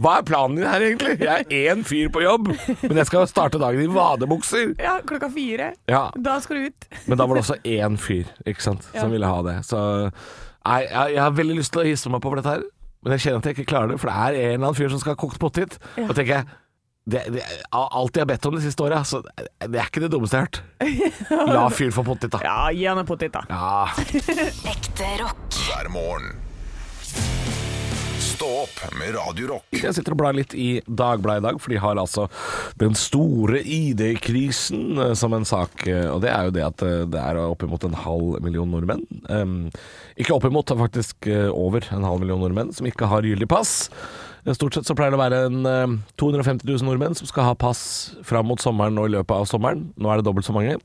Speaker 3: Hva er planen din her, egentlig? Jeg er én fyr på jobb, men jeg skal starte dagen i vadebukser.
Speaker 4: ja, klokka fire.
Speaker 3: Ja,
Speaker 4: Da skal du ut.
Speaker 3: men da var det også én fyr ikke sant, som ville ha det. Så nei, jeg, jeg har veldig lyst til å hisse meg på for dette her, men jeg kjenner at jeg ikke klarer det. For det er en eller annen fyr som skal ha kokt potet. Og tenker jeg det, det, Alt jeg har bedt om det siste året, altså, det er ikke det dummeste jeg har hørt. La fyren få potet, da.
Speaker 4: Ja, gi han en potet, da.
Speaker 3: Ja.
Speaker 8: Ekte rock.
Speaker 2: hver morgen. Stå opp med Radio Rock.
Speaker 3: Jeg sitter og blar litt i Dagbladet i dag, for de har altså den store ID-krisen eh, som en sak. eh, Og det er jo det at eh, det er oppimot en halv million nordmenn. em, Ikke oppimot, det er faktisk eh, over en halv million nordmenn som ikke har gyldig pass. Eh, Stort sett så pleier det å være en eh, 250 000 nordmenn som skal ha pass fram mot sommeren og i løpet av sommeren. Nå er det dobbelt så mange.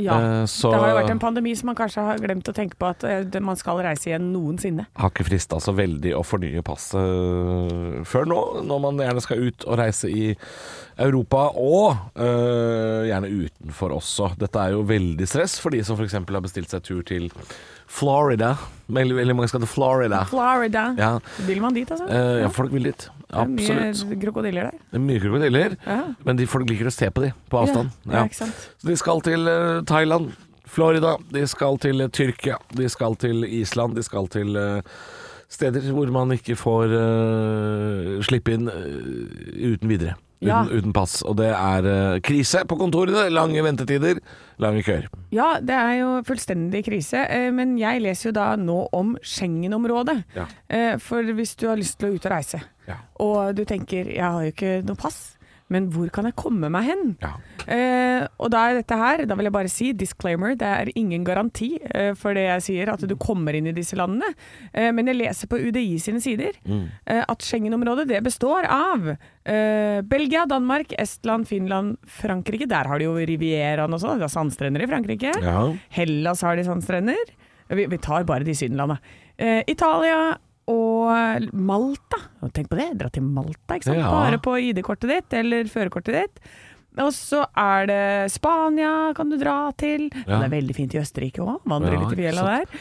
Speaker 4: Ja.
Speaker 3: Eh, så-
Speaker 4: Det har jo vært en pandemi som man kanskje har glemt å tenke på at eh, det- man skal reise igjen noensinne.
Speaker 3: har ikke frista så veldig å fornye passet før nå, når man gjerne skal ut og reise i Europa, og øh, gjerne utenfor også. Dette er jo veldig stress for de som f.eks. har bestilt seg tur til Florida. Veldig, veldig mange skal til Florida.
Speaker 4: Florida.
Speaker 3: Ah. Ja,
Speaker 4: Vil man dit, altså?
Speaker 3: øh, ja folk vil dit. Absolutt.
Speaker 4: Det er mye krokodiller der.
Speaker 3: Det er mye krokodiller,
Speaker 4: Ja.
Speaker 3: men de folk liker å se på de på avstand.
Speaker 4: Ja, ja, ikke sant?
Speaker 3: Så de skal til eh, Thailand, Florida, de skal til eh, Tyrkia, de skal til Island, de skal til eh, steder hvor man ikke får eh, slippe inn eh, uten videre. Uten,
Speaker 4: Ja.
Speaker 3: uten pass. Og det er eh, krise på kontorene. Lange ventetider, lange køer.
Speaker 4: Ja, det er jo fullstendig krise, eh, men jeg leser jo da nå om Schengen-området.
Speaker 3: Ja.
Speaker 4: Eh, For hvis du har lyst til å ut og reise,
Speaker 3: Ja.
Speaker 4: og du tenker 'jeg har jo ikke noe pass', men hvor kan jeg komme meg hen?
Speaker 3: Ja.
Speaker 4: Eh, og da er dette her, da vil jeg bare si disclaimer, det er ingen garanti eh, for det jeg sier,
Speaker 3: Mm.
Speaker 4: at du kommer inn i disse landene. Eh, men jeg leser på UDI sine sider
Speaker 3: Mm.
Speaker 4: eh, at Schengen-området det består av eh, Belgia, Danmark, Estland, Finland, Frankrike. Der har de jo Rivieraen og sånn, det er sandstrender i Frankrike.
Speaker 3: Ja.
Speaker 4: Hellas har de sandstrender. Vi, vi tar bare de sydenlanda. Eh, Italia og Malta. Og Tenk på det, dra til Malta, ikke sant?
Speaker 3: Ja.
Speaker 4: Bare på ID-kortet ditt eller førerkortet ditt. Og så er det Spania kan du dra til.
Speaker 3: Ja.
Speaker 4: Det er veldig fint i Østerrike òg, vandre
Speaker 3: Ja,
Speaker 4: litt i
Speaker 3: ikke
Speaker 4: fjella der.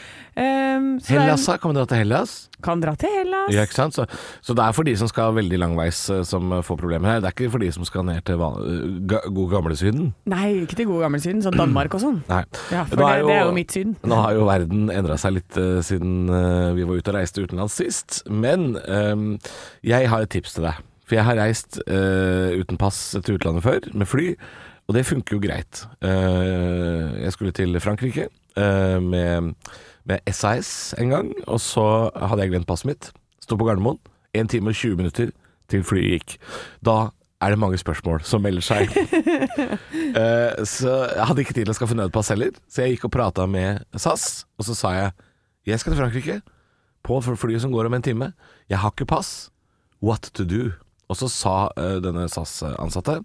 Speaker 4: Um, så det er-
Speaker 3: Hellas, da? Kan vi dra til Hellas?
Speaker 4: Kan dra til Hellas.
Speaker 3: Ja, ikke sant? Så, så det er for de som skal veldig langveis, eh, som eh, får problemer her. Det er ikke for de som skal ned til van eh, ga god gamle Syden.
Speaker 4: Nei, ikke til god gammel Syden, sånn Danmark og sånn.
Speaker 3: Nei.
Speaker 4: Ja, for
Speaker 3: Nå
Speaker 4: det- det er jo mitt syn.
Speaker 3: Nå har jo verden endra seg litt eh, siden eh, vi var ute og reiste utenlands sist. Men ehm, jeg har et tips til deg. For jeg har reist eh, uten pass til utlandet før, med fly. Og det funker jo greit. Eh, jeg skulle til Frankrike eh, med, med SAS en gang. Og så hadde jeg glemt passet mitt. Sto på Gardermoen. 1 time og 20 minutter til flyet gikk. Da er det mange spørsmål som melder seg. Eh, så jeg hadde ikke tid til å skaffe nødpass heller, så jeg gikk og prata med SAS, og så sa jeg jeg skal til Frankrike, på f- flyet som går om en time. Jeg har ikke pass. What to do? Og så sa eh, denne SAS-ansatte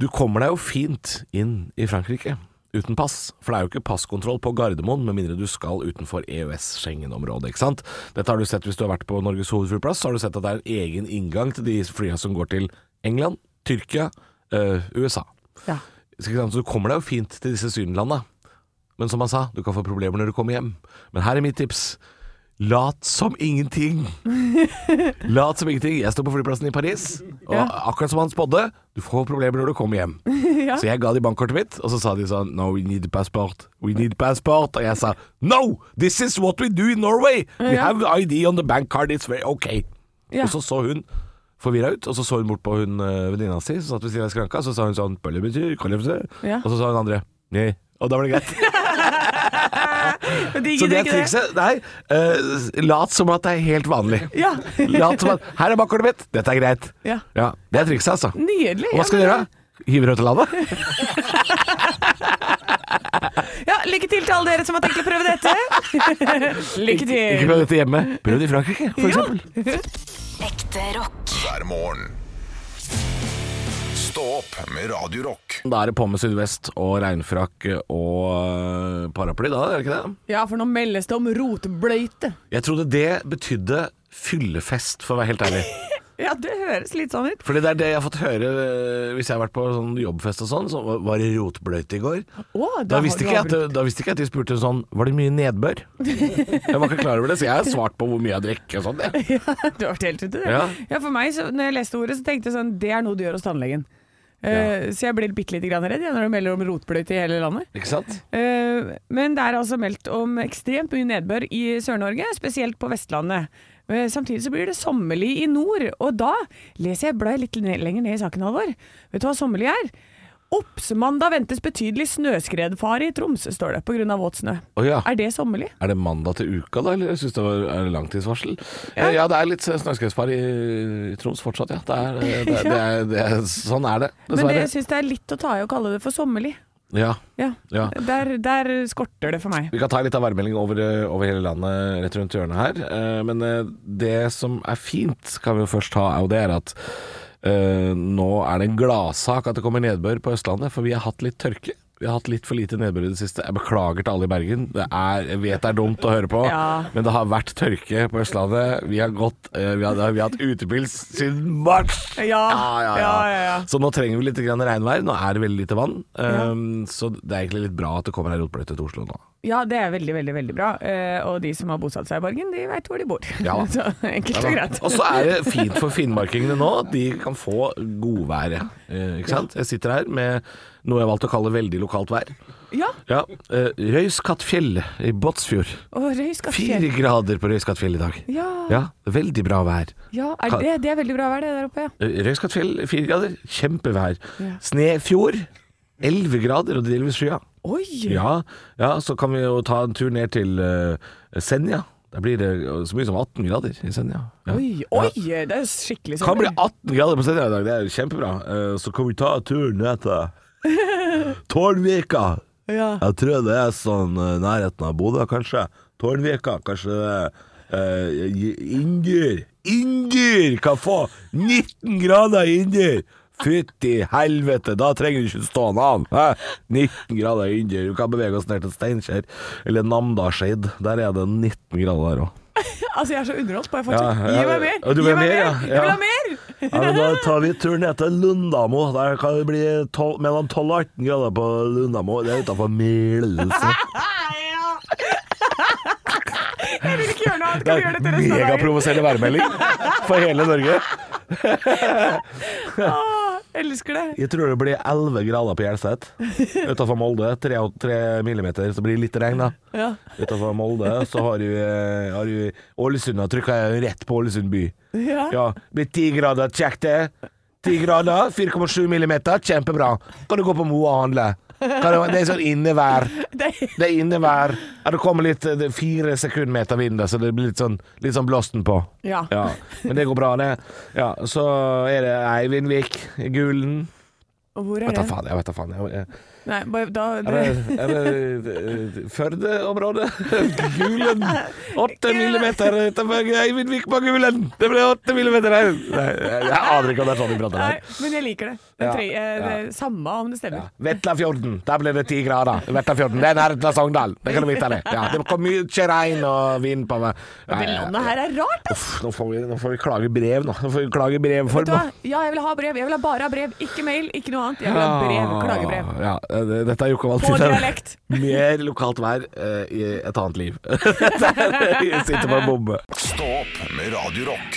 Speaker 3: Du kommer deg jo fint inn i Frankrike uten pass, for det er jo ikke passkontroll på Gardermoen med mindre du skal utenfor EØS-Schengen-området, ikke sant? Dette har du sett hvis du har vært på Norges hovedflyplass, så har du sett at det er en egen inngang til de flya som går til England, Tyrkia, eh, USA.
Speaker 4: Ja.
Speaker 3: Så ikke sant, så du kommer deg jo fint til disse sydenlandene. Men som han sa, du kan få problemer når du kommer hjem. Men her er mitt tips. Lat som ingenting. Lat som ingenting. Jeg sto på flyplassen i Paris, og akkurat som han spådde, du får problemer når du kommer hjem. Så jeg ga de bankkortet mitt, og så sa de sånn No, we need passport. We need passport. Og jeg sa No! This is what we do in Norway! We have ID on the bank card. It's very okay.
Speaker 4: Ja.
Speaker 3: Og så så hun forvirra ut, og så så hun bort på hun eh, venninna si som satt ved siden av skranka, så sa hun sånn «Bølle betyr kollefse»,
Speaker 4: Ja.
Speaker 3: Og så sa hun andre Nei. Og da var det greit.
Speaker 4: Digger
Speaker 3: Så det
Speaker 4: du
Speaker 3: er
Speaker 4: [LAUGHS] ikke det?
Speaker 3: trikset. Nei, eh, lat som at det er helt vanlig.
Speaker 4: [LAUGHS] Ja.
Speaker 3: [LAUGHS] Lat som at Her er bakkortet mitt. Dette er greit.
Speaker 4: Ja.
Speaker 3: Det er trikset, altså.
Speaker 4: Nydelig.
Speaker 3: Og hva skal du
Speaker 4: Ja,
Speaker 3: gjøre?
Speaker 4: men-
Speaker 3: Hive deg ut av
Speaker 4: [LAUGHS]
Speaker 3: landet?
Speaker 4: Ja, lykke til til alle dere som har tenkt å prøve dette.
Speaker 3: [LAUGHS]
Speaker 4: lykke
Speaker 3: Ikke
Speaker 4: til.
Speaker 3: prøv dette hjemme. Prøv det i Frankrike, for eksempel.
Speaker 8: Ekte rock.
Speaker 2: hver morgen. Stå opp med Radio Rock.
Speaker 3: Da er det på med sydvest og regnfrakk og eh, paraply, da, er det ikke det?
Speaker 4: Ja, for nå meldes det om rotbløyte.
Speaker 3: Jeg trodde det betydde fyllefest, for å være helt ærlig.
Speaker 4: Ja, det høres litt sånn ut.
Speaker 3: Fordi det er det jeg har fått høre eh, hvis jeg har vært på sånn jobbfest og sånn. Så var det rotbløyte i går.
Speaker 4: Å,
Speaker 3: Da
Speaker 4: har-
Speaker 3: visste,
Speaker 4: du
Speaker 3: ikke jeg
Speaker 4: har
Speaker 3: at,
Speaker 4: brukt-
Speaker 3: da visste ikke jeg at de spurte sånn Var det mye nedbør? Jeg var ikke klar over det, så jeg har svart på hvor mye jeg drikker og sånn.
Speaker 4: [LAUGHS]
Speaker 3: jeg.
Speaker 4: Du har vært helt ute, det.
Speaker 3: Ja.
Speaker 4: Ja. for meg, så, når jeg leste ordet, så tenkte jeg sånn Det er noe du gjør hos tannlegen. Eh, Så jeg ble bitte lite grann redd jeg, når det melder om rotbløyte i hele landet.
Speaker 3: Ikke sant?
Speaker 4: Eh, Men det er altså meldt om ekstremt mye nedbør i Sør-Norge, spesielt på Vestlandet. Eh, Samtidig så blir det sommerlig i nord, og da leser jeg blei litt ned, lenger ned i saken, Halvor. Vet du hva sommerlig er? Oppsmandag ventes betydelig snøskredfare i Troms, står det, pga. våt snø.
Speaker 3: Å ja.
Speaker 4: Er det sommerlig?
Speaker 3: Er det mandag til uka, da? Eller jeg syns det var er det langtidsvarsel? Ja. ja, det er litt snøskredfare i, i Troms fortsatt, ja. Det er, eh,
Speaker 4: [LAUGHS]
Speaker 3: det, er- det er, det er, sånn er det,
Speaker 4: Men det,
Speaker 3: dessverre.
Speaker 4: jeg syns det er litt å ta i å kalle det for sommerlig.
Speaker 3: Ja.
Speaker 4: Ja.
Speaker 3: Ja.
Speaker 4: Der, der skorter det for meg.
Speaker 3: Vi kan ta litt av værmeldingen over, eh, over hele landet rett rundt hjørnet her. Eh, Men eh, det som er fint, kan vi jo først ta, er jo det er at eh, nå er det en gladsak at det kommer nedbør på Østlandet, for vi har hatt litt tørke. Vi har hatt litt for lite nedbør i det siste. Jeg beklager til alle i Bergen. Det er, jeg vet det er dumt å høre [LAUGHS] på,
Speaker 4: Ja.
Speaker 3: men det har vært tørke på Østlandet. Vi har gått eh, Vi har, vi har hatt utepils siden mars!
Speaker 4: Ja,
Speaker 3: ja, ja,
Speaker 4: ja.
Speaker 3: Så nå trenger vi litt grann regnvær. Nå er det veldig lite vann. Eh, Så det er egentlig litt bra at det kommer ei rotbløyte til Oslo nå.
Speaker 4: Ja, det er veldig, veldig veldig bra. Eh, og de som har bosatt seg i Borgen, de veit hvor de bor.
Speaker 3: Ja.
Speaker 4: [LAUGHS]
Speaker 3: Altså,
Speaker 4: Så enkelt og greit.
Speaker 3: Og så er det fint for finnmarkingene nå. at De kan få godværet. Eh, ikke sant? Jeg sitter her med noe jeg valgte å kalle veldig lokalt vær.
Speaker 4: Ja,
Speaker 3: Ja, eh, Røyskattfjell i Båtsfjord.
Speaker 4: og Røyskattfjell.
Speaker 3: Fire grader på Røyskattfjell i dag.
Speaker 4: Ja.
Speaker 3: Ja, veldig bra vær.
Speaker 4: ja, er det, det er veldig bra vær det der oppe, ja.
Speaker 3: Eh, Røyskattfjell fire grader, kjempevær.
Speaker 4: Ja.
Speaker 3: Snefjord elleve grader og delvis skya.
Speaker 4: Oi!
Speaker 3: Ja, ja, så kan vi jo ta en tur ned til eh, Senja. Der blir det eh, så mye som 18 grader i Senja. Ja.
Speaker 4: Oi, oi, det er skikkelig
Speaker 3: Kan bli
Speaker 4: sommer.
Speaker 3: 18 grader på Senja i dag, det er kjempebra. Eh, Så kan vi ta turen ned til Tårnvika.
Speaker 4: Ja.
Speaker 3: Jeg tror det er sånn eh, nærheten av Bodø, kanskje. Tårnvika, kanskje det er eh, Indyr. Indyr kan få 19 grader i Indyr! Fytti helvete, da trenger du ikke stå an. hæ? 19 grader i Indyr. Vi kan bevege oss ned til Steinkjer eller Namdalseid. Der er det 19 grader der òg.
Speaker 4: Altså, jeg er så underholdt på jeg
Speaker 3: Ja,
Speaker 4: fortsatt. Gi
Speaker 3: ja,
Speaker 4: meg mer!
Speaker 3: ja, du
Speaker 4: Gi
Speaker 3: vil
Speaker 4: meg
Speaker 3: mer, ja,
Speaker 4: Jeg
Speaker 3: ja.
Speaker 4: vil ha mer!
Speaker 3: Ja, men Da tar vi turen ned til Lundamo. Der kan det bli 12, mellom 12 og 18 grader på Lundamo. Det er utafor Melelse.
Speaker 4: Jeg vil ikke gjøre noe annet. [LAUGHS] Kan vi gjøre dette resten av dagen?
Speaker 3: megaprovoserende værmelding for hele Norge.
Speaker 4: Åh, elsker det.
Speaker 3: Jeg tror det blir 11 grader på Hjelset. Utafor Molde 3, 3 millimeter, så blir det litt regn, da.
Speaker 4: Ja.
Speaker 3: Utafor Molde så har du, eh, har du Ålesund. Da trykker jeg rett på Ålesund by.
Speaker 4: Ja.
Speaker 3: Ja, blir 10 grader. Kjekt, det. 10 grader, 4,7 millimeter. Kjempebra. Kan du gå på Moa og handle? Kan du, det er sånn innevær.
Speaker 4: Det,
Speaker 3: Det er innevær. Ja, det kommer litt eh, det er fire sekundmeter vind, så det blir litt sånn, litt sånn blåsten på.
Speaker 4: ja.
Speaker 3: Ja, Men det går bra, det. Ja, så er det Eivindvik, Gulen
Speaker 4: Og hvor er
Speaker 3: Vet da
Speaker 4: det?
Speaker 3: faen, jeg vet da faen. Jeg, jeg,
Speaker 4: Nei, bare da
Speaker 3: Er det, er det eh, Førde-området? Gulen! Åtte millimeter utenfor Eivind Vikma-gulen! Det ble åtte millimeter her! Nei, jeg aner ikke om det er sånn de prater
Speaker 4: Nei,
Speaker 3: her.
Speaker 4: men jeg liker det. Den
Speaker 3: Ja,
Speaker 4: tre, eh,
Speaker 3: ja.
Speaker 4: det samme om det
Speaker 3: Ja.
Speaker 4: stemmer.
Speaker 3: Vetlafjorden, der ble det ti grader. Vetlafjorden, Det er nærheten av Sogndal. Det kan du vite det. Ja, det kom mye regn og vind på meg. Nei,
Speaker 4: Det landet her er rart, ass!
Speaker 3: Uff, nå får, vi, nå får vi klage i brev, nå. Nå får vi klage i
Speaker 4: Vet du
Speaker 3: brevform.
Speaker 4: hva?
Speaker 3: nå.
Speaker 4: Ja, jeg vil ha brev. Jeg vil ha bare ha brev. Ikke mail, ikke noe annet. Jeg vil ha brev. Klagebrev.
Speaker 3: Ja, eh, det- dette er Jokke
Speaker 4: På
Speaker 3: Valtin.
Speaker 4: dialekt.
Speaker 3: [LAUGHS] Mer lokalt vær eh, i et annet liv. [LAUGHS] Jeg Sitter på en bombe.
Speaker 2: Stå opp med Radio Rock.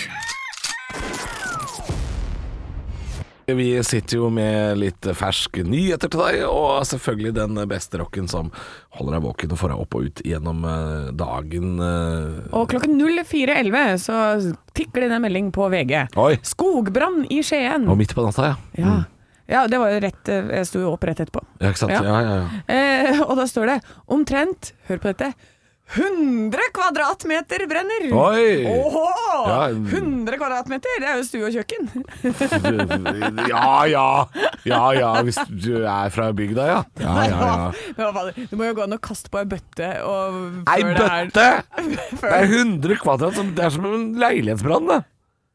Speaker 3: Vi sitter jo med litt ferske nyheter til deg, og selvfølgelig den beste rocken som holder deg våken og får deg opp og ut gjennom eh, dagen. eh.
Speaker 4: Og klokken 04.11 så tikker det inn en melding på VG.
Speaker 3: Oi.
Speaker 4: Skogbrann i Skien.
Speaker 3: Og midt på natta, ja.
Speaker 4: Ja. ja, det var jo rett eh, Jeg sto jo opp rett etterpå.
Speaker 3: Ja, ikke sant?
Speaker 4: Ja.
Speaker 3: Ja, ja, ja.
Speaker 4: Eh, og da står det omtrent Hør på dette. 100 kvadratmeter brenner!
Speaker 3: Oi!
Speaker 4: Åhå!
Speaker 3: Ja.
Speaker 4: 100 kvadratmeter! Det er jo stue og kjøkken.
Speaker 3: Ja, ja. Ja, ja. Hvis du er fra bygda, ja. Ja, ja, ja.
Speaker 4: [LAUGHS] Men hva faen, Du må jo gå an å kaste på ei bøtte og
Speaker 3: Ei
Speaker 4: før [LAUGHS]
Speaker 3: bøtte!
Speaker 4: Det er,
Speaker 3: Det er 100 kvadrat. som- Det er som en leilighetsbrann, det.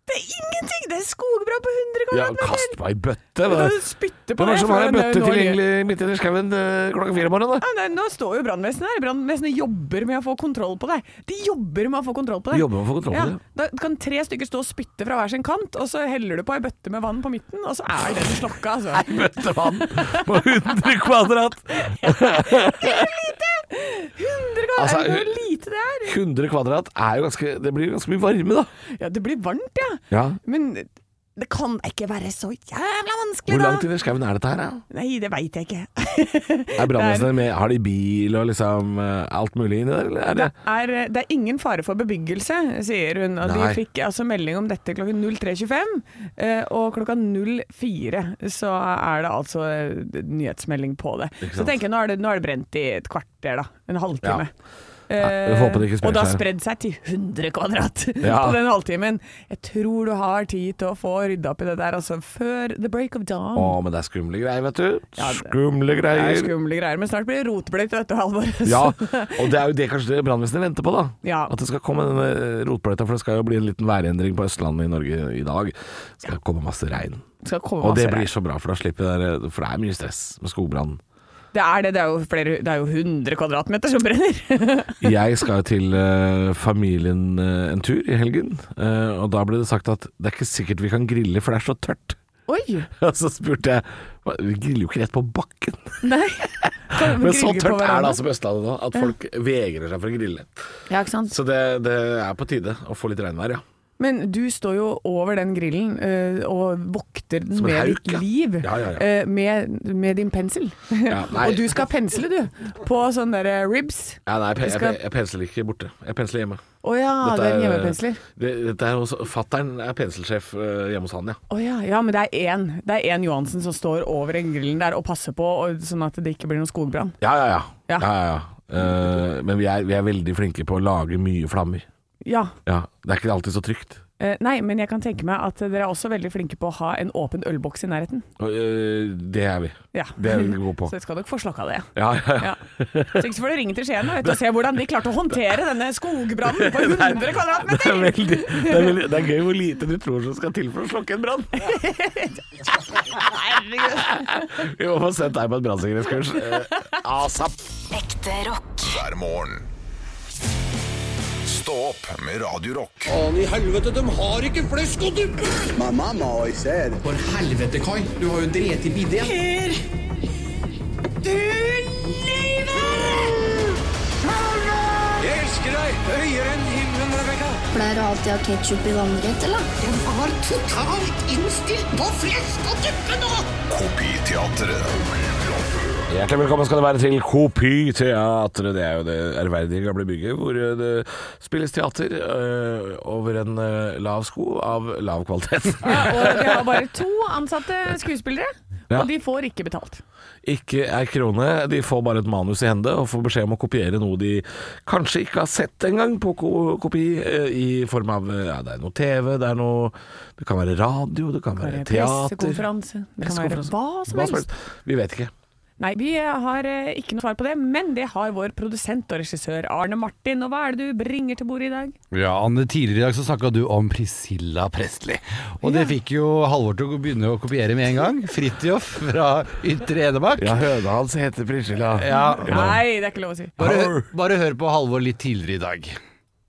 Speaker 4: Det er ingenting! Det er skogbrann på
Speaker 3: Ja,
Speaker 4: 100 kvadratmeter!
Speaker 3: kast meg ei bøtte.
Speaker 4: Da
Speaker 3: da.
Speaker 4: du spytter på
Speaker 3: Hvem er det som har ei
Speaker 4: for det er
Speaker 3: bøtte
Speaker 4: jo nå-
Speaker 3: tilgjengelig midt inne i skauen eh, klokka fire om morgenen? da? [LAUGHS]
Speaker 4: Ja, nei, nå står jo brannvesenet her. Brannvesenet jobber med å få kontroll på deg. De jobber med å få kontroll
Speaker 3: De
Speaker 4: på deg.
Speaker 3: jobber med å få kontroll på
Speaker 4: ja, Da kan tre stykker stå og spytte fra hver sin kant, og så heller du på ei bøtte med vann på midten, og så er den slokka, altså.
Speaker 3: Bøttevann på 100 kvadrat!
Speaker 4: 100 ganger!
Speaker 3: Altså,
Speaker 4: er det
Speaker 3: hun-
Speaker 4: hvor lite det er?
Speaker 3: 100 kvadrat er jo ganske Det blir ganske mye varme, da.
Speaker 4: Ja, det blir varmt, ja.
Speaker 3: Ja.
Speaker 4: Men det kan da ikke være så jævla vanskelig,
Speaker 3: Hvor
Speaker 4: da.
Speaker 3: langt inn i skauen er dette her? da?
Speaker 4: Nei, det veit jeg ikke.
Speaker 3: Er brannvesenet med Har de bil og liksom eh, alt mulig inni der, eller er det
Speaker 4: [LAUGHS] Det er, det er ingen fare for bebyggelse, sier hun. Og
Speaker 3: Nei.
Speaker 4: de fikk altså melding om dette klokken 03.25, eh, og klokka 04 så er det altså eh, nyhetsmelding på det.
Speaker 3: Ikke
Speaker 4: Så
Speaker 3: sant.
Speaker 4: tenker jeg nå er, det, nå er det brent i et kvarter, da. En halvtime. Eh,
Speaker 3: Nei, vi håper det ikke sprer
Speaker 4: og da
Speaker 3: seg.
Speaker 4: spredd seg til 100 kvadrat [LAUGHS]
Speaker 3: Ja.
Speaker 4: på den halvtimen. Jeg tror du har tid til å få rydda opp i det der altså før the break of dawn.
Speaker 3: Å, men det er skumle greier, vet du.
Speaker 4: Ja, det-
Speaker 3: Skumle
Speaker 4: Det er
Speaker 3: greier.
Speaker 4: skumle greier, men snart blir det rotbløyt, vet du, Halvor.
Speaker 3: Ja,
Speaker 4: [LAUGHS]
Speaker 3: og det er jo det kanskje det brannvesenet venter på, da.
Speaker 4: Ja.
Speaker 3: At det skal komme denne rotbløyta, for det skal jo bli en liten værendring på Østlandet i Norge i dag. Det skal komme masse regn.
Speaker 4: Skal komme
Speaker 3: Og det
Speaker 4: masse
Speaker 3: blir så bra, for da slipper det der For det er mye stress med skogbrann.
Speaker 4: Det er det. Det er jo, flere, det er jo 100 kvadratmeter som brenner. [LAUGHS]
Speaker 3: Jeg skal jo til eh, familien eh, en tur i helgen, eh, og da ble det sagt at det er ikke sikkert vi kan grille, for det er så tørt. [LAUGHS]
Speaker 4: Oi!
Speaker 3: Og så spurte jeg "Hva, Vi griller jo ikke rett på bakken.
Speaker 4: Nei. Kan
Speaker 3: Men så
Speaker 4: grille på
Speaker 3: tørt er det
Speaker 4: hverandre?
Speaker 3: altså på Østlandet nå, at folk vegrer seg for å grille.
Speaker 4: Ja, ikke sant?
Speaker 3: Så det, det er på tide å få litt regnvær, ja.
Speaker 4: Men du står jo over den grillen eh, og vokter den
Speaker 3: Som en
Speaker 4: med
Speaker 3: hauk,
Speaker 4: ditt
Speaker 3: ja.
Speaker 4: liv.
Speaker 3: Ja, ja, ja.
Speaker 4: eh, med, med din pensel.
Speaker 3: Ja, nei.
Speaker 4: og du skal pensle, du. På sånne der eh, ribs.
Speaker 3: Ja, nei, jeg, pe- jeg,
Speaker 4: Skal-
Speaker 3: pe- jeg pensler ikke borte. Jeg pensler hjemme.
Speaker 4: Å ja,
Speaker 3: Dette
Speaker 4: det er en
Speaker 3: er-
Speaker 4: hjemmepensler.
Speaker 3: Det, dette er hos Fattern er penselsjef eh, hjemme hos han, ja.
Speaker 4: Å ja, ja, men det er én. Det er én Johansen som står over den grillen der og passer på, og, sånn at det ikke blir noen skogbrann.
Speaker 3: Ja, ja, ja.
Speaker 4: Ja.
Speaker 3: ja. ja, ja. Eh, men vi er, vi er veldig flinke på å lage mye flammer.
Speaker 4: Ja.
Speaker 3: Ja, Det er ikke alltid så trygt.
Speaker 4: Eh, nei, men jeg kan tenke meg at dere er også veldig flinke på å ha en åpen ølboks i nærheten.
Speaker 3: Og, eh, det er vi.
Speaker 4: Ja.
Speaker 3: Det er vi gode på.
Speaker 4: [LAUGHS] Så skal dere få slakka det.
Speaker 3: Ja, ja, [LAUGHS] ja.
Speaker 4: Ja. Så ikke så får du ringe til Skien da, vet du, og se hvordan de klarte å håndtere denne skogbrannen på 100
Speaker 3: [LAUGHS] Det er,
Speaker 4: kvadratmeter!
Speaker 3: veldig, det, er veldig, det er gøy hvor lite du tror som skal til for å slokke en brann. Vi må få sendt deg på et brannsikkerhetskurs. eh, ASAP.
Speaker 8: Ekte rock.
Speaker 2: hver morgen. Stå opp med Radio Rock.
Speaker 9: For helvete, Kai. Du har jo drept i bidé.
Speaker 10: Pleier du alltid å ha ketsjup i vannrett, eller? Den var totalt innstilt på flesk og duppe nå!
Speaker 2: Kopiteatret.
Speaker 3: Hjertelig velkommen skal det være til Kopyteatret. Det er jo det ærverdige gamle bygget hvor eh, det spilles teater eh, over en eh, lav sko av lav kvalitet. [LAUGHS]
Speaker 4: Ja, og de har bare to ansatte skuespillere,
Speaker 3: Ja.
Speaker 4: og de får ikke betalt.
Speaker 3: Ikke ei krone. De får bare et manus i hende og får beskjed om å kopiere noe de kanskje ikke har sett engang på ko kopi, eh, i form av eh, ja, det er noe TV, det er noe Det kan være radio, det kan
Speaker 4: Det
Speaker 3: være
Speaker 4: er
Speaker 3: teater.
Speaker 4: Pressekonferanse. Det kan være hva som helst.
Speaker 3: Vi vet ikke.
Speaker 4: Nei, vi har eh, ikke noe svar på det, men det har vår produsent og regissør Arne Martin. Og hva er det du bringer til bordet i dag?
Speaker 11: Ja, Anne, Tidligere i dag så snakka du om Priscilla Presley. Og det fikk jo Halvor til å begynne å kopiere med en gang. Fridtjof fra Ytre Enebakk.
Speaker 3: Ja, høna hans heter Priscilla.
Speaker 11: Ja.
Speaker 4: Nei, det er ikke lov å si.
Speaker 11: Bare, hø- bare hør på Halvor litt tidligere i dag.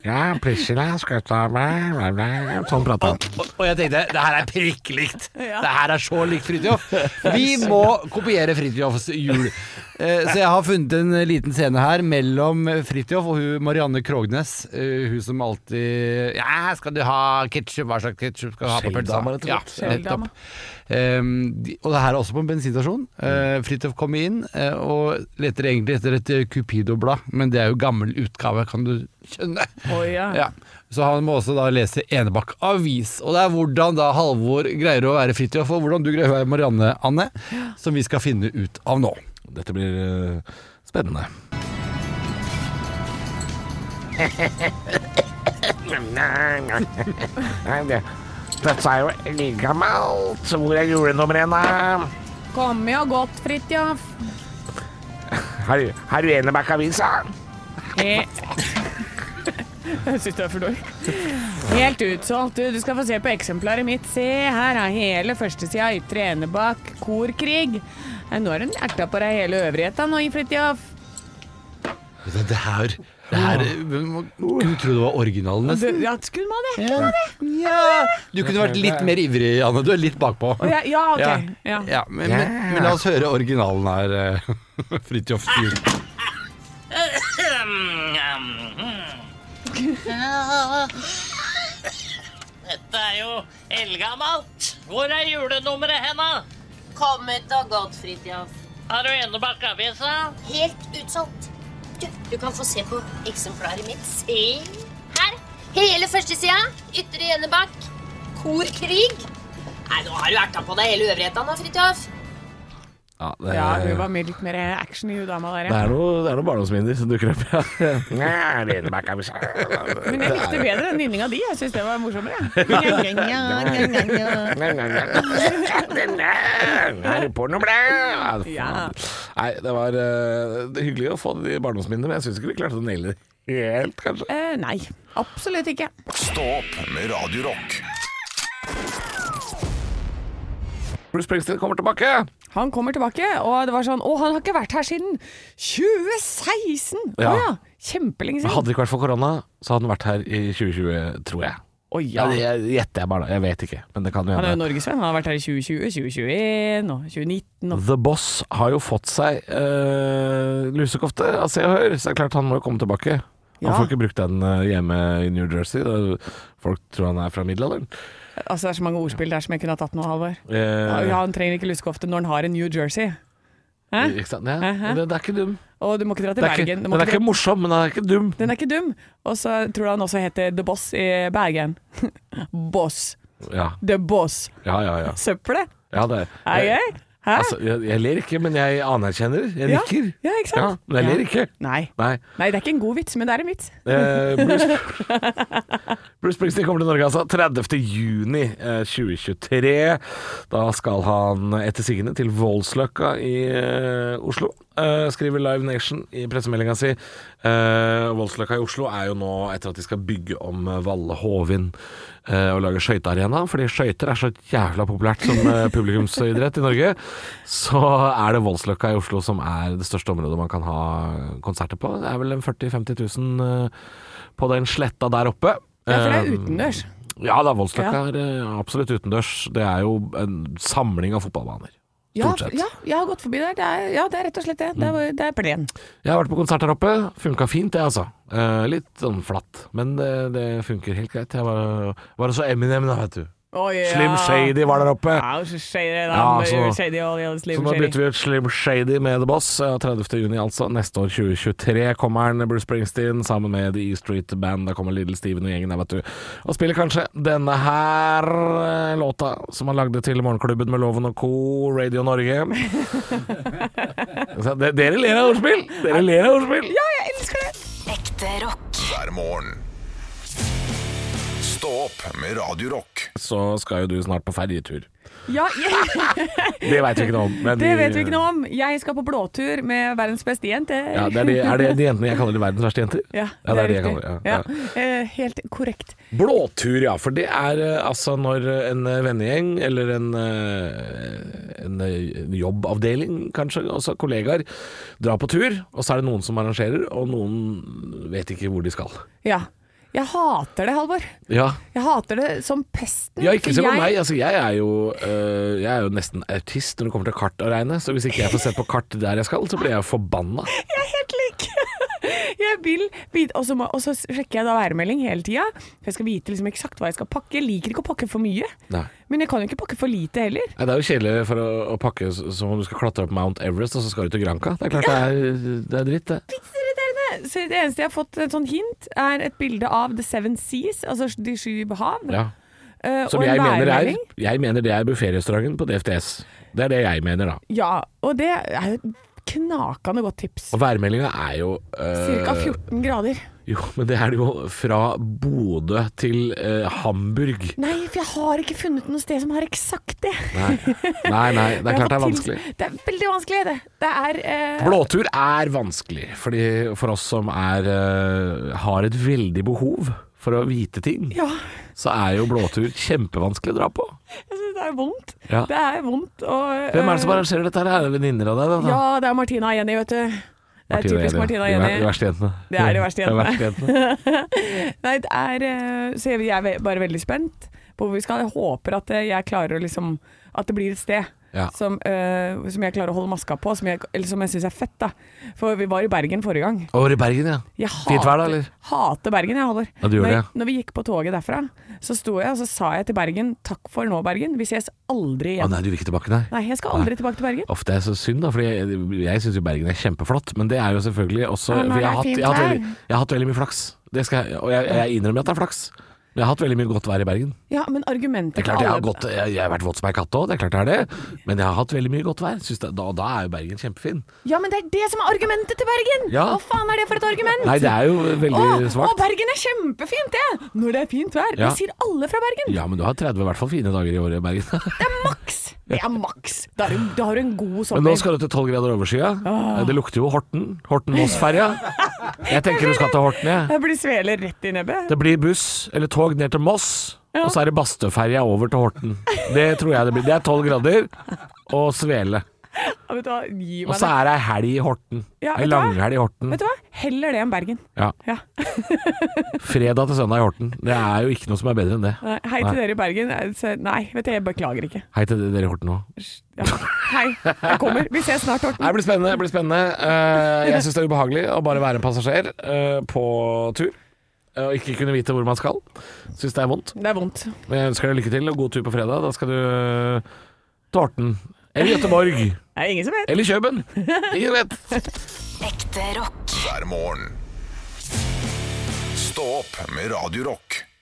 Speaker 3: Ja, Priscilla skal ta meg bla, bla. Sånn prata han.
Speaker 11: Og, og jeg tenkte det her er prikk likt. Det her er så likt Fridtjof. Vi må kopiere Fridtjofs jul. Eh, Så jeg har funnet en liten scene her mellom Fridtjof og hun Marianne Krognes. eh, Hun som alltid Ja, skal du ha ketsjup? Hva slags ketsjup skal du ha på pølsa?
Speaker 3: Skjelldama, rett og
Speaker 11: Ja,
Speaker 3: slett.
Speaker 11: nettopp. Ehm, de- og det her er også på en bensinstasjon. Uh, Fridtjof kommer inn eh, og leter egentlig etter et eh, Cupido-blad, men det er jo gammel utgave, kan du skjønne.
Speaker 4: Oi, ja.
Speaker 11: Ja. Så han må også da lese Enebakk Avis. Og det er hvordan da Halvor greier å være Fridtjof, og hvordan du greier å være Marianne Anne, som vi skal finne ut av nå.
Speaker 3: Dette blir eh, spennende. Dette er jo like gammelt. Hvor er julenummer én, da?
Speaker 4: Kom med og godt, Fridtjof.
Speaker 3: Har du, har du Enebakk-avisa?
Speaker 4: [LAUGHS] Jeg syns du er for dårlig. Helt utsolgt. Du, du skal få se på eksemplaret mitt. Se, her er hele førstesida Ytre Enebakk, korkrig. Eh, Nå har hun lært deg på deg hele øvrigheta nå, Fridtjof.
Speaker 11: Det, det her, det her man Kunne tro det var originalen,
Speaker 4: Du,
Speaker 11: nesten.
Speaker 4: ja, skulle man det?
Speaker 11: Ja. Du kunne vært litt mer ivrig, Anne. Du er litt bakpå.
Speaker 4: Å, Ja, ja, ok. Ja.
Speaker 11: Ja, men, men, men la oss høre originalen her, eh, [LAUGHS] Fridtjofs jul.
Speaker 5: Dette er jo eldgammelt. Hvor er julenummeret henne?
Speaker 10: Kom ut og godt, Fridtjof.
Speaker 5: Har du Enebakk-avisa?
Speaker 10: Helt utsolgt. Du, du kan få se på eksemplaret mitt. Se her. Hele førstesida. Ytre Enebakk. Korkrig. Nei, nå har du erta på deg hele øvrigheta nå, Fridtjof.
Speaker 3: Ja, det
Speaker 4: Ja,
Speaker 3: er,
Speaker 4: hun var med litt mer action i hun dama der,
Speaker 3: det
Speaker 4: ja.
Speaker 3: er noe, det er noe barndomsminner som dukker opp, ja.
Speaker 4: Men jeg likte bedre den nynninga di. Jeg syns det var morsommere. Ja,
Speaker 3: Her er pornoblad!
Speaker 4: Ja.
Speaker 3: Nei, det var eh, det er hyggelig å få de barndomsminnene, men jeg syns ikke vi klarte å naile det helt, kanskje.
Speaker 4: Eh, Nei, absolutt ikke.
Speaker 2: Stå opp med Radio Rock.
Speaker 3: Bruce Springsteen kommer tilbake!
Speaker 4: Han kommer tilbake, og det var sånn Å, han har ikke vært her siden 2016! Å
Speaker 3: Ja.
Speaker 4: ja. Kjempelenge siden.
Speaker 3: Hadde det ikke vært for korona, så hadde han vært her i 2020, tror jeg.
Speaker 4: Å
Speaker 3: Ja,
Speaker 4: ja.
Speaker 3: det jeg- gjetter jeg bare, da. Jeg vet ikke, men det kan jo
Speaker 4: Han er jo
Speaker 3: hende.
Speaker 4: norgesvenn. Han har vært her i 2020, 2021 og 2019 og
Speaker 3: The Boss har jo fått seg eh, lusekofte av Se og Hør, så det er klart han må jo komme tilbake. Han
Speaker 4: Ja.
Speaker 3: får ikke brukt den eh, hjemme i New Jersey. Da folk tror han er fra middelalderen.
Speaker 4: Altså, det er så mange ordspill der som jeg kunne ha tatt nå, Halvor.
Speaker 3: Eh,
Speaker 4: Ja, han trenger ikke lusekofte når han har en New Jersey. Hæ?
Speaker 3: Ikke sant? Ja,
Speaker 4: Hæ, hæ?
Speaker 3: det, det er ikke dum.
Speaker 4: Og du må ikke dra til
Speaker 3: Det er ikke,
Speaker 4: Bergen. Du
Speaker 3: den
Speaker 4: må
Speaker 3: er
Speaker 4: ikke
Speaker 3: ikke
Speaker 4: dra...
Speaker 3: morsom, men den er ikke dum.
Speaker 4: Den er ikke dum. Og så tror jeg han også heter The Boss i Bergen. [LAUGHS] boss.
Speaker 3: Ja,
Speaker 4: The Boss.
Speaker 3: ja, ja. ja.
Speaker 4: Søppelet.
Speaker 3: ja det,
Speaker 4: Er jeg? Hæ?
Speaker 3: Altså, jeg, jeg ler ikke, men jeg anerkjenner. Jeg
Speaker 4: Ja.
Speaker 3: nikker.
Speaker 4: Ja, ikke sant?
Speaker 3: men jeg
Speaker 4: Ja.
Speaker 3: ler ikke.
Speaker 4: Nei.
Speaker 3: Nei.
Speaker 4: Nei, det er ikke en god vits, men det er en vits.
Speaker 3: Eh, Bruce, [LAUGHS] Bruce Springsteen kommer til Norge altså 30. juni eh, 2023. Da skal han etter sigende til Voldsløkka i eh, Oslo. Eh, skriver Live Nation i pressemeldinga si. Eh, Voldsløkka i Oslo er jo nå etter at de skal bygge om eh, Valle Hovin eh, og lage skøytearena, fordi skøyter er så jævla populært som eh, publikumsidrett i Norge. Så er det Voldsløkka i Oslo som er det største området man kan ha konserter på. Det er vel en 40 000-50 000 eh, på den sletta der oppe.
Speaker 4: Ja, for det er
Speaker 3: Eh,
Speaker 4: utendørs.
Speaker 3: ja da, Voldsløkka
Speaker 4: Ja.
Speaker 3: er eh, absolutt utendørs. Det er jo en samling av fotballbaner.
Speaker 4: Ja,
Speaker 3: Stort sett. Mm.
Speaker 4: ja, jeg har gått forbi der. Det er, ja, det er rett og slett det. Det er, det er plen.
Speaker 3: Jeg har vært på konsert der oppe, funka fint det altså. Eh, litt sånn flatt, men det, det funker helt greit. Jeg var, var også Eminem da, vet du. Slim Shady var der oppe.
Speaker 4: [LAUGHS] Ja, så shady, da.
Speaker 3: Ja, så-
Speaker 4: shady og de Slim
Speaker 3: Så nå
Speaker 4: Shady.
Speaker 3: bytter vi ut Slim Shady med The Boss. Ja, 30. juni altså. Neste år, 2023, kommer han, Bruce Springsteen, sammen med The E Street Band. Da kommer Little Steven og gjengen der, vet du. Og spiller kanskje denne her eh, låta, som han lagde til Morgenklubben med Loven og Co., Radio
Speaker 4: [LAUGHS]
Speaker 3: Norge. Så de- Dere ler av ordspill! Dere ler av ordspill!
Speaker 4: Ja, jeg elsker det!
Speaker 8: Ekte rock.
Speaker 2: hver morgen. Stå opp med Radio Rock.
Speaker 3: Så skal jo du snart på ferjetur.
Speaker 4: Ja, jeg,
Speaker 3: Det veit vi ikke noe om. men
Speaker 4: det
Speaker 3: de-
Speaker 4: vet vi ikke noe om. Jeg skal på blåtur med verdens beste jente.
Speaker 3: Ja, det er, de, er det de jentene jeg kaller de verdens verste jenter?
Speaker 4: Ja,
Speaker 3: Ja, det er de jeg
Speaker 4: riktig.
Speaker 3: kaller det, ja.
Speaker 4: Ja. Eh, helt korrekt.
Speaker 3: Blåtur, ja. For det er eh, altså når eh, en eh, vennegjeng eller en, eh, en eh, jobbavdeling, kanskje, altså kollegaer, drar på tur, og så er det noen som arrangerer, og noen vet ikke hvor de skal.
Speaker 4: Ja. Jeg hater det, Halvor.
Speaker 3: Ja,
Speaker 4: Jeg hater det som pesten.
Speaker 3: ja ikke se på
Speaker 4: jeg-
Speaker 3: meg. Altså, jeg, er jo, eh, jeg er jo nesten autist når det kommer til kart å regne, så hvis ikke jeg får sett på kart der jeg skal, så blir jeg forbanna.
Speaker 4: Jeg er helt lik. [LAUGHS] Jeg vil vite Og så må- og så sjekker jeg da værmelding hele tida. For jeg skal vite liksom eksakt hva jeg skal pakke. Jeg liker ikke å pakke for mye.
Speaker 3: Nei.
Speaker 4: Men jeg kan jo ikke pakke for lite heller.
Speaker 3: Nei, Det er jo kjedelig for å, å pakke s- som om du skal klatre opp Mount Everest, og så skal du til Granca. Det er klart det er, det er dritt, det.
Speaker 4: Irriterende. Så det eneste jeg har fått et sånn hint, er et bilde av The Seven Seas, altså de sju hav.
Speaker 3: Ja.
Speaker 4: eh,
Speaker 3: Som
Speaker 4: og en
Speaker 3: jeg mener, er,
Speaker 4: værmelding.
Speaker 3: jeg mener det er bufférestauranten på DFTS. Det er det jeg mener, da.
Speaker 4: Ja, og det er jo et knakende godt tips.
Speaker 3: Og værmeldinga er jo eh,
Speaker 4: Cirka 14 grader.
Speaker 3: Jo, men det er det jo fra Bodø til eh, Hamburg.
Speaker 4: Nei, for jeg har ikke funnet noe sted som har eksakt det.
Speaker 3: Nei. nei, nei, det er
Speaker 4: [LAUGHS]
Speaker 3: klart
Speaker 4: Jeg har
Speaker 3: det er
Speaker 4: fått
Speaker 3: vanskelig.
Speaker 4: til- Det er veldig vanskelig, det. Det er eh,
Speaker 3: Blåtur er vanskelig fordi for oss som er, eh, har et veldig behov for å vite ting,
Speaker 4: Ja, [LAUGHS]
Speaker 3: så er jo blåtur kjempevanskelig å dra på.
Speaker 4: jeg syns det er vondt.
Speaker 3: Ja.
Speaker 4: Det er vondt og eh,
Speaker 3: Hvem er det som arrangerer dette? her? Er det venninner av deg? da?
Speaker 4: Ja, det er Martina og Jenny, vet du. Det
Speaker 3: Martina og
Speaker 4: er typisk
Speaker 3: Jenny.
Speaker 4: Martina og
Speaker 3: De ver- De
Speaker 4: Jenny.
Speaker 3: verste jentene.
Speaker 4: Det er de verste
Speaker 3: De
Speaker 4: jentene.
Speaker 3: verste jentene.
Speaker 4: Nei, det er eh, Så jeg jeg er ve- bare veldig spent på hvor vi skal. Jeg håper at eh, jeg klarer å liksom At det blir et sted.
Speaker 3: Ja.
Speaker 4: Som, eh, som jeg klarer å holde maska på, som jeg, eller som jeg syns er fett. da For vi var i Bergen forrige gang.
Speaker 3: Over i Bergen, ja.
Speaker 4: Jeg
Speaker 3: Fint vær, da, eller?
Speaker 4: hater Bergen, jeg, Halvor.
Speaker 3: Ja, du gjør
Speaker 4: når,
Speaker 3: det, ja.
Speaker 4: når vi gikk på toget derfra, så sto jeg og så sa jeg til Bergen 'takk for nå, Bergen', vi ses aldri
Speaker 3: Å
Speaker 4: igjen.
Speaker 3: nei, du vil ikke tilbake, nei?
Speaker 4: Nei, jeg skal aldri tilbake til Bergen.
Speaker 3: Uff, det er så synd, da, for jeg, jeg syns jo Bergen er kjempeflott. Men det er jo selvfølgelig også
Speaker 4: Ja, men
Speaker 3: For
Speaker 4: det
Speaker 3: jeg
Speaker 4: er
Speaker 3: har, hatt,
Speaker 4: fint
Speaker 3: jeg, har hatt
Speaker 4: vær.
Speaker 3: veldig, jeg har hatt veldig mye flaks. Det skal, jeg- og jeg, jeg innrømmer at det er flaks. Men jeg har hatt veldig mye godt vær i Bergen.
Speaker 4: Ja, men argumentet
Speaker 3: Det er klart Jeg har, gått, jeg, jeg har vært våt som ei katt òg, det er klart jeg har det. Men jeg har hatt veldig mye godt vær. Synes det, da, da er jo Bergen kjempefin.
Speaker 4: Ja, men det er det som er argumentet til Bergen!
Speaker 3: Ja.
Speaker 4: Hva faen er det for et argument?
Speaker 3: Nei, det er jo veldig
Speaker 4: Å, Å,
Speaker 3: svakt.
Speaker 4: Bergen er kjempefint, det! Når det er fint vær.
Speaker 3: Ja.
Speaker 4: Det sier alle fra Bergen.
Speaker 3: Ja, men du har 30 i hvert fall fine dager i året i [LAUGHS] Bergen.
Speaker 4: Det er maks! Det er maks. Da har du, da har du en god
Speaker 3: Men nå
Speaker 4: sommer.
Speaker 3: skal du til 12 grader overskya. Det lukter jo Horten. Horten-Moss-ferja. Jeg tenker du skal til Horten, jeg.
Speaker 4: Jeg blir sveler rett i nebbet.
Speaker 3: Det blir buss eller tog ned til Moss, og så er det Bastøferja over til Horten. Det tror jeg det blir. Det er tolv grader og svele.
Speaker 4: Ja, Vet du hva, gi
Speaker 3: Og
Speaker 4: meg
Speaker 3: så
Speaker 4: det.
Speaker 3: er det ei helg i Horten.
Speaker 4: Ja,
Speaker 3: Ei
Speaker 4: vet du hva?
Speaker 3: langhelg i Horten.
Speaker 4: Vet du hva, heller det enn Bergen.
Speaker 3: Ja.
Speaker 4: Ja.
Speaker 3: Fredag til søndag i Horten. Det er jo ikke noe som er bedre enn det.
Speaker 4: Nei, Hei til dere i Bergen. Jeg sier- Nei, vet du, jeg beklager ikke.
Speaker 3: Hei til dere i Horten òg.
Speaker 4: Ja. Hei, jeg kommer. Vi ses snart, Horten.
Speaker 3: Det blir spennende. Det blir spennende. Eh, Jeg syns det er ubehagelig å bare være en passasjer eh, på tur. eh, Og ikke kunne vite hvor man skal. Syns det er vondt.
Speaker 4: Det er vondt.
Speaker 3: Men jeg ønsker deg lykke til og god tur på fredag. Da skal du eh, til Horten. Eller Gøteborg.
Speaker 4: Det er ingen som vet.
Speaker 3: Eller Kjøben. Ingen vet.
Speaker 8: Ekte rock.
Speaker 2: hver morgen. Stå opp med Radio Rock.